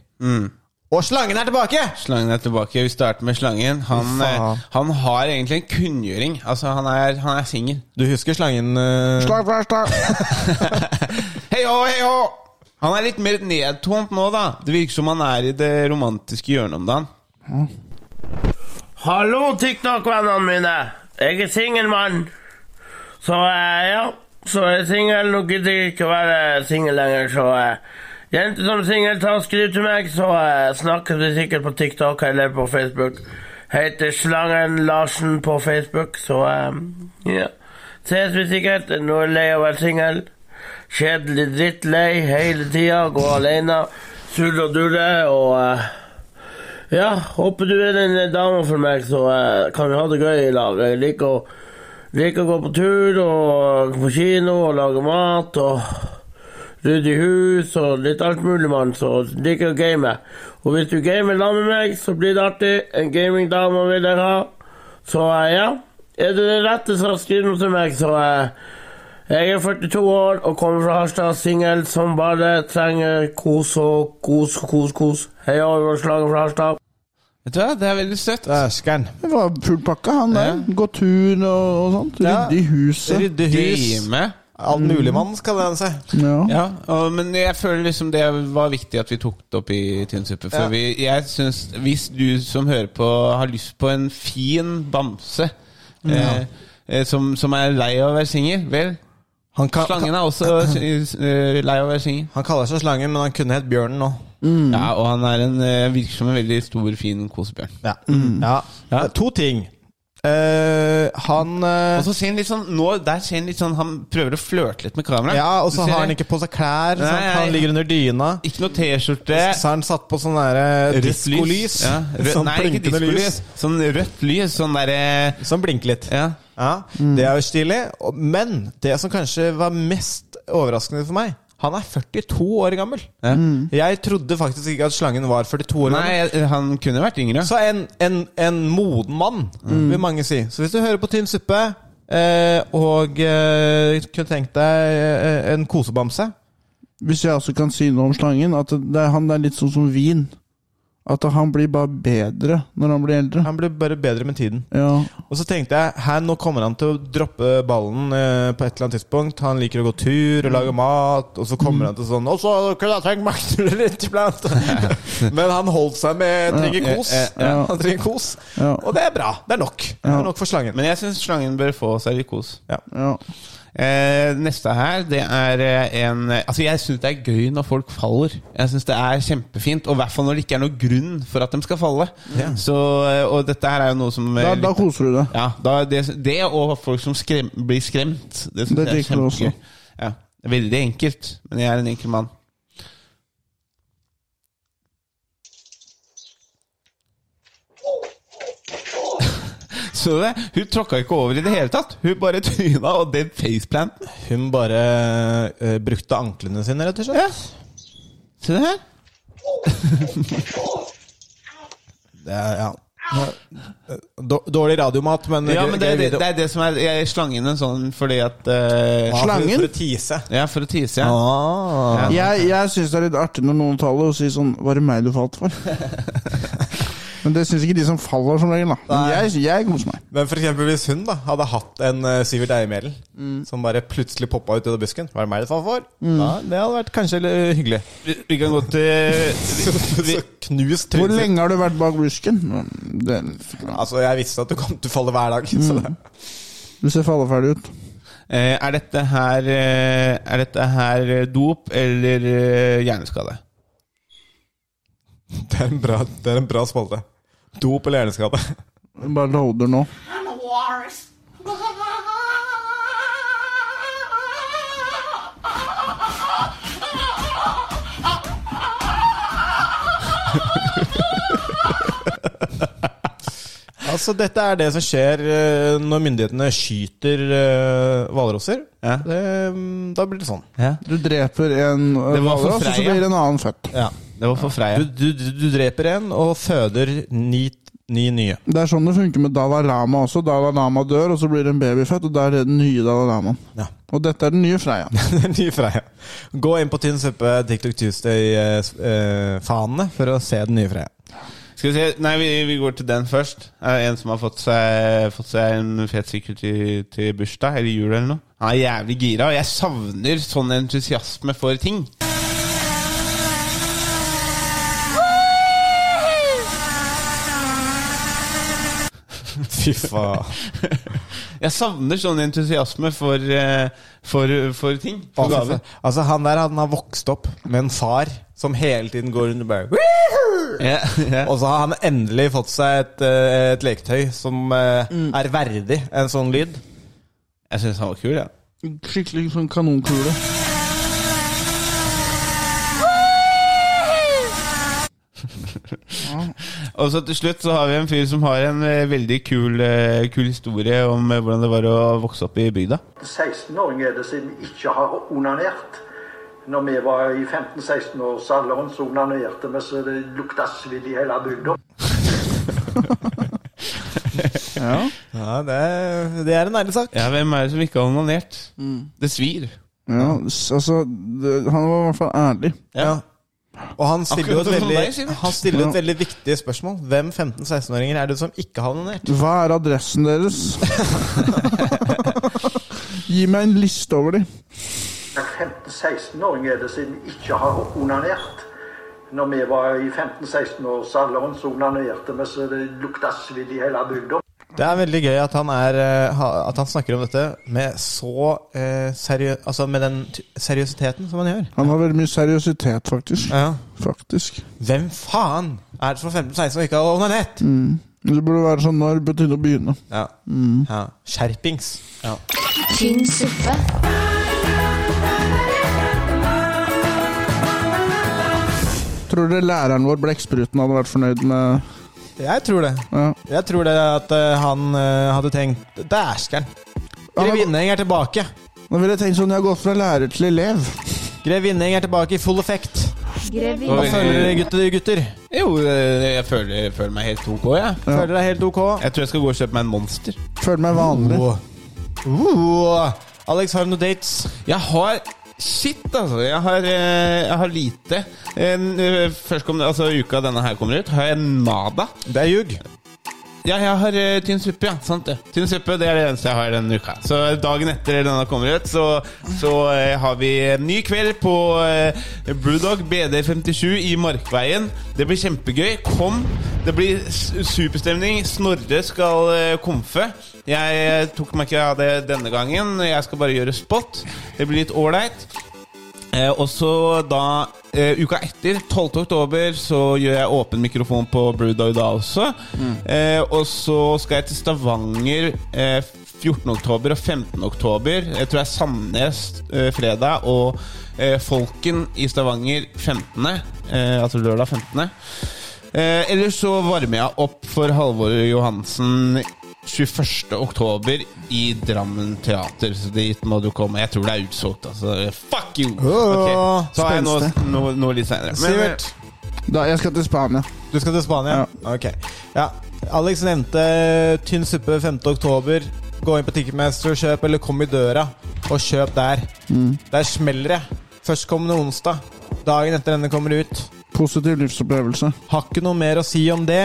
Speaker 2: Og slangen er tilbake!
Speaker 4: Slangen er tilbake. Vi starter med slangen. Han,
Speaker 2: Fy faen.
Speaker 4: eh, han har egentlig en kunngjøring. Altså, han er, han er singel.
Speaker 2: Du husker slangen eh,
Speaker 3: Slag, slag, slag.
Speaker 4: Hei hå, hei hå! Han er litt mer nedtomt nå, da. Det virker som han er i det romantiske hjørnet om dagen.
Speaker 9: Hallo, TikTok-vennene mine. Jeg er singelmann. Så eh, ja, så er jeg singel. Nå gidder jeg ikke å være singel lenger, så eh, Jenter som er singel, ta og skriv til meg, så eh, snakkes vi sikkert på TikTok eller på Facebook. Heter Slangen Larsen på Facebook, så eh, ja. Ses vi sikkert. Nå er jeg lei av å være singel. Kjedelig drittlei hele tida. Gå aleine. Sulle og dule og eh, ja, håper du er den eh, dama for meg, så eh, kan vi ha det gøy i lag. Jeg liker å, liker å gå på tur og på kino og lage mat og rydde i hus og litt alt mulig, mann. Så liker jeg å game. Og hvis du gamer sammen med meg, så blir det artig. En gamingdame vil jeg ha. Så eh, ja, er du den rette, så skriv noe til meg, så eh, jeg er 42 år og kommer fra Harstad, singel som bare trenger kos og kos, kos, kos. Hei, overslaget fra Harstad.
Speaker 4: Vet du hva, Det er veldig søtt.
Speaker 2: Dæskeren.
Speaker 3: Det var full pakke, han der. Gå tur og, og sånt.
Speaker 2: Ja.
Speaker 3: Rydde i huset.
Speaker 2: Rydde hus.
Speaker 4: Game.
Speaker 2: All mulig mann skal den seg.
Speaker 3: Ja.
Speaker 4: Ja, og, men jeg føler liksom det var viktig at vi tok det opp i Tynnsuppe. For
Speaker 2: Ja.
Speaker 4: vi, jeg synes, Hvis du som hører på, har lyst på en fin bamse eh, eh, som, som er lei av å være singel, vel
Speaker 2: Han, kan,
Speaker 4: Slangen er også eh, lei av å være singel.
Speaker 2: han kaller seg Slangen, men han kunne hett Bjørnen nå.
Speaker 4: Ja, og han er en, eh, virker som en veldig stor, fin kosebjørn.
Speaker 2: Ja. Ja.
Speaker 4: Ja.
Speaker 2: To ting. Eh, han eh,
Speaker 4: Og så ser han litt sånn Nå, der ser han litt sånn Han prøver å flørte litt med kameraet.
Speaker 2: Ja, og
Speaker 4: Du
Speaker 2: så
Speaker 4: ser
Speaker 2: har han
Speaker 4: det.
Speaker 2: ikke på seg klær. sant?
Speaker 4: Nei, nei.
Speaker 2: Han ligger under dyna.
Speaker 4: Ikke noe T-skjorte.
Speaker 2: Så har han satt på sånn derre
Speaker 4: rødt lys.
Speaker 2: diskolys.
Speaker 4: Ja, rødt,
Speaker 2: Sånn
Speaker 4: nei, ikke
Speaker 2: blinkende
Speaker 4: diskolys.
Speaker 2: lys.
Speaker 4: Sånn rødt lys. Sånn derre
Speaker 2: Som blinker litt.
Speaker 4: ja.
Speaker 2: Ja, Det er jo stilig. Og- Men det som kanskje var mest overraskende for meg Han er 42 år gammel.
Speaker 4: Ja.
Speaker 2: Jeg trodde faktisk ikke at slangen var 42 år gammel.
Speaker 4: Mm. Nei, eh, han kunne vært yngre.
Speaker 2: Så en, en, en moden mann,
Speaker 4: Mm.
Speaker 2: vil mange si. Så hvis du hører på Tynn suppe eh, og eh, kunne tenkt deg eh, en kosebamse
Speaker 3: Hvis jeg også kan si noe om slangen, at det er, han er litt sånn som vin. At han blir bare bedre når han blir eldre.
Speaker 2: Han blir bare bedre med tiden.
Speaker 3: Ja.
Speaker 2: Og så tenkte jeg her nå kommer han til å droppe ballen eh, på et eller annet tidspunkt. Han liker å gå tur og lage mat, og så
Speaker 4: Mm.
Speaker 2: kommer han til sånn Og så kunne jeg trengt makter litt iblant. Men han holdt seg med trenger kos.
Speaker 4: Ja, ja,
Speaker 3: ja.
Speaker 2: Han trenger kos.
Speaker 3: Ja.
Speaker 2: Og det er bra. Det er nok. Det er nok for slangen.
Speaker 4: Men jeg syns slangen bør få seg litt kos.
Speaker 3: ja.
Speaker 4: Eh, neste her, det er eh, en Altså, jeg syns det er gøy når folk faller. Jeg syns det er kjempefint. Og i hvert fall når det ikke er noen grunn for at de skal falle. Så, eh, og dette her er jo noe som eh,
Speaker 3: Da, da
Speaker 4: litt-
Speaker 3: koser du deg.
Speaker 4: ja, da, det, det og folk som skrem, blir skremt, det syns
Speaker 3: Det
Speaker 4: jeg er
Speaker 3: liker du også.
Speaker 4: kjempegøy. Ja, det er veldig enkelt, men jeg er en enkel mann. Så du det? Hun tråkka ikke over i det hele tatt. Hun bare tryna, og den faceplanten
Speaker 2: Hun bare eh, brukte anklene sine, rett og slett.
Speaker 4: Se det her.
Speaker 2: Det er, ja. Dår- Dårlig radiomat, men,
Speaker 4: Ja, men det,
Speaker 2: gøy
Speaker 4: er det,
Speaker 2: video.
Speaker 4: det er det som er jeg er slangen en sånn fordi at eh,
Speaker 2: Ja, for-
Speaker 3: Slangen?
Speaker 2: For å tease.
Speaker 4: Ja, for å tise, ja.
Speaker 2: Ah.
Speaker 3: Jeg, jeg syns det er litt artig når noen faller og sier sånn Var det meg du falt for? Men det syns ikke de som faller, som regel. da Men jeg, jeg koser meg.
Speaker 2: Men for eksempel hvis hun da hadde hatt en eh, Sivert Eiemelen som bare plutselig poppa ut av busken, var det meg det faen for? Ja, det hadde vært kanskje litt eh, hyggelig.
Speaker 4: Vi, vi kan gå til
Speaker 2: Så, så knust
Speaker 3: Hvor
Speaker 2: trynet.
Speaker 3: lenge har du vært bak busken? Det,
Speaker 2: Altså, jeg visste at du kom til å falle hver dag. Så det.
Speaker 3: du ser falleferdig ut.
Speaker 4: Eh, er dette her eh, Er dette her eh, dop eller eh, hjerneskade?
Speaker 2: Det, er en bra, det er en bra spalte. Dop eller hjerneskade.
Speaker 3: Bare loader nå.
Speaker 2: så
Speaker 4: Altså,
Speaker 2: dette er det som skjer eh, når myndighetene skyter eh, hvalrosser.
Speaker 4: Ja.
Speaker 2: Det, mm, Da blir det sånn.
Speaker 4: Ja.
Speaker 3: Du dreper en eh,
Speaker 4: Det var for
Speaker 3: hvalross, og så
Speaker 4: Freia.
Speaker 3: blir en annen født.
Speaker 4: Det var for Freia.
Speaker 2: Du, du, du du dreper en og føder ni, ni nye.
Speaker 3: Det er sånn det funker med Dalai Lama også. Dalai Lama dør, og så blir det en baby født, og da er det den nye Dalai Lamaen.
Speaker 2: Ja.
Speaker 3: Og dette er den nye Freia.
Speaker 2: Ny Freia. Gå inn på Tynn suppe, TikTok eh, Tuesday-fanene for å se den nye Freia.
Speaker 4: Skal vi se Nei, vi, vi går til den først. Er det en som har fått seg, fått seg en fet sykkel til, til bursdag eller jul eller noe. Han er jævlig gira, og jeg savner sånn entusiasme for ting.
Speaker 2: Fy faen.
Speaker 4: Jeg savner sånn entusiasme for, eh, for, for ting. For gaver.
Speaker 2: Altså, han der han har vokst opp med en far som hele tiden går rundt og bare «Woohoo!»
Speaker 4: Ja, ja.
Speaker 2: Og så har han endelig fått seg et, eh, et leketøy som eh,
Speaker 4: Mm.
Speaker 2: er verdig en sånn lyd.
Speaker 4: Jeg syns han var kul, jeg. Ja.
Speaker 3: Skikkelig sånn kanonkule.
Speaker 4: Og så til slutt så har vi en fyr som har en eh, veldig kul, eh, kul historie om eh, hvordan det var å vokse opp i bygda.
Speaker 10: 16-åring er det som ikke har onanert. Når vi var i 15-16-årsalderen, så onanerte vi så det lukta svidd i hele bygda.
Speaker 3: Ja.
Speaker 2: Ja, det, det er en ærlig sak.
Speaker 4: Ja, Hvem er det som ikke har onanert? Det svir.
Speaker 3: ja, s- altså det, Han var i hvert fall ærlig.
Speaker 2: Ja. Og han stiller jo et
Speaker 4: Akkurat som deg,
Speaker 2: veldig,
Speaker 4: Sivert.
Speaker 2: han stiller et veldig viktig spørsmål. Hvem 15-16-åringer er det som ikke har onanert?
Speaker 3: Hva er adressen deres? Gi meg en liste over de.
Speaker 10: 15-16-åring er det som ikke har onanert. Når vi var i 15-16-årsalderen, så onanerte vi så det lukta svidd i hele bygda.
Speaker 2: Det er veldig gøy at han, er, eh, ha- at han snakker om dette med så eh, seriø altså med den t- seriøsiteten som han gjør.
Speaker 3: Han har veldig mye seriøsitet, faktisk.
Speaker 2: Ja.
Speaker 3: Faktisk.
Speaker 2: Hvem faen er det som er 15-16 og ikke har onanert?
Speaker 3: Det burde være sånn når på tide å begynne.
Speaker 2: Ja.
Speaker 4: Mm.
Speaker 2: Ja. Skjerpings. Ja.
Speaker 1: Tynn suppe.
Speaker 3: Tror dere læreren vår, Blekkspruten, hadde vært fornøyd med
Speaker 2: Jeg tror det.
Speaker 3: ja.
Speaker 2: Jeg tror det at eh, han eh, hadde tenkt Dæsker'n! Grevinneheng er tilbake!
Speaker 3: Nå ville jeg tenkt sånn, jeg har gått fra lærer til elev.
Speaker 2: Grevinneheng er tilbake i full effekt!
Speaker 1: Grevinne.
Speaker 2: Hva føler dere, gutter? gutter?
Speaker 4: Jo, eh, jeg føler, jeg føler meg helt OK, jeg.
Speaker 2: Føler dere helt ok?
Speaker 4: Jeg tror jeg skal gå og kjøpe meg en Monster.
Speaker 3: Føler meg vanlig.
Speaker 2: Wow. Wow. Uh. Alex, har du noen dates?
Speaker 4: Jeg har Shit, altså. Jeg har, eh, jeg har lite. En, eh, Førstkommende altså, uka denne her kommer ut, har jeg nada.
Speaker 2: Det er ljug.
Speaker 4: Ja, jeg har eh, tynn suppe, ja. Sant det. Tynn suppe det er det eneste jeg har denne uka. Så eh, dagen etter denne kommer ut, så, så eh, har vi en ny kveld på eh, Brewdog BD57 i Markveien. Det blir kjempegøy. Kom. Det blir s- superstemning. Snorre skal eh, komfe. Jeg eh, tok meg ikke av det denne gangen. Jeg skal bare gjøre spot. Det blir litt ålreit. Eh, og så da eh, uka etter, 12. oktober, så gjør jeg åpen mikrofon på Brewdog da også. Eh, og så skal jeg til Stavanger eh, 14. oktober og 15. oktober. Jeg tror det er Sandnes eh, fredag og eh, Folken i Stavanger 15. Eh, altså lørdag 15. Eh, ellers så varmer jeg opp for Halvor Johansen 21. oktober i Drammen Teater. Så dit må du komme. Jeg tror det er utsolgt, altså. Fuck you!
Speaker 2: Åh,
Speaker 4: Ok, Så har jeg noe,
Speaker 3: spenstig.
Speaker 4: noe, noe litt eh, seinere.
Speaker 2: Sivert,
Speaker 3: Da, jeg skal til Spania.
Speaker 2: du skal til Spania? Ok. Ja. Alex nevnte eh, Tynn suppe 5. oktober. Gå inn på Ticketmaster og kjøp, eller kom i døra og kjøp der. Der smeller det. Førstkommende onsdag. Dagen etter denne kommer ut.
Speaker 3: Positiv livsopplevelse.
Speaker 2: Har ikke noe mer å si om det.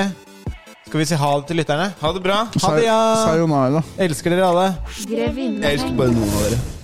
Speaker 2: Skal vi si ha det til lytterne?
Speaker 4: Ha det bra.
Speaker 2: Ha det, ja!
Speaker 3: Sayonara.
Speaker 2: Elsker dere alle.
Speaker 1: Grevinne.
Speaker 4: elsker bare noen av dere.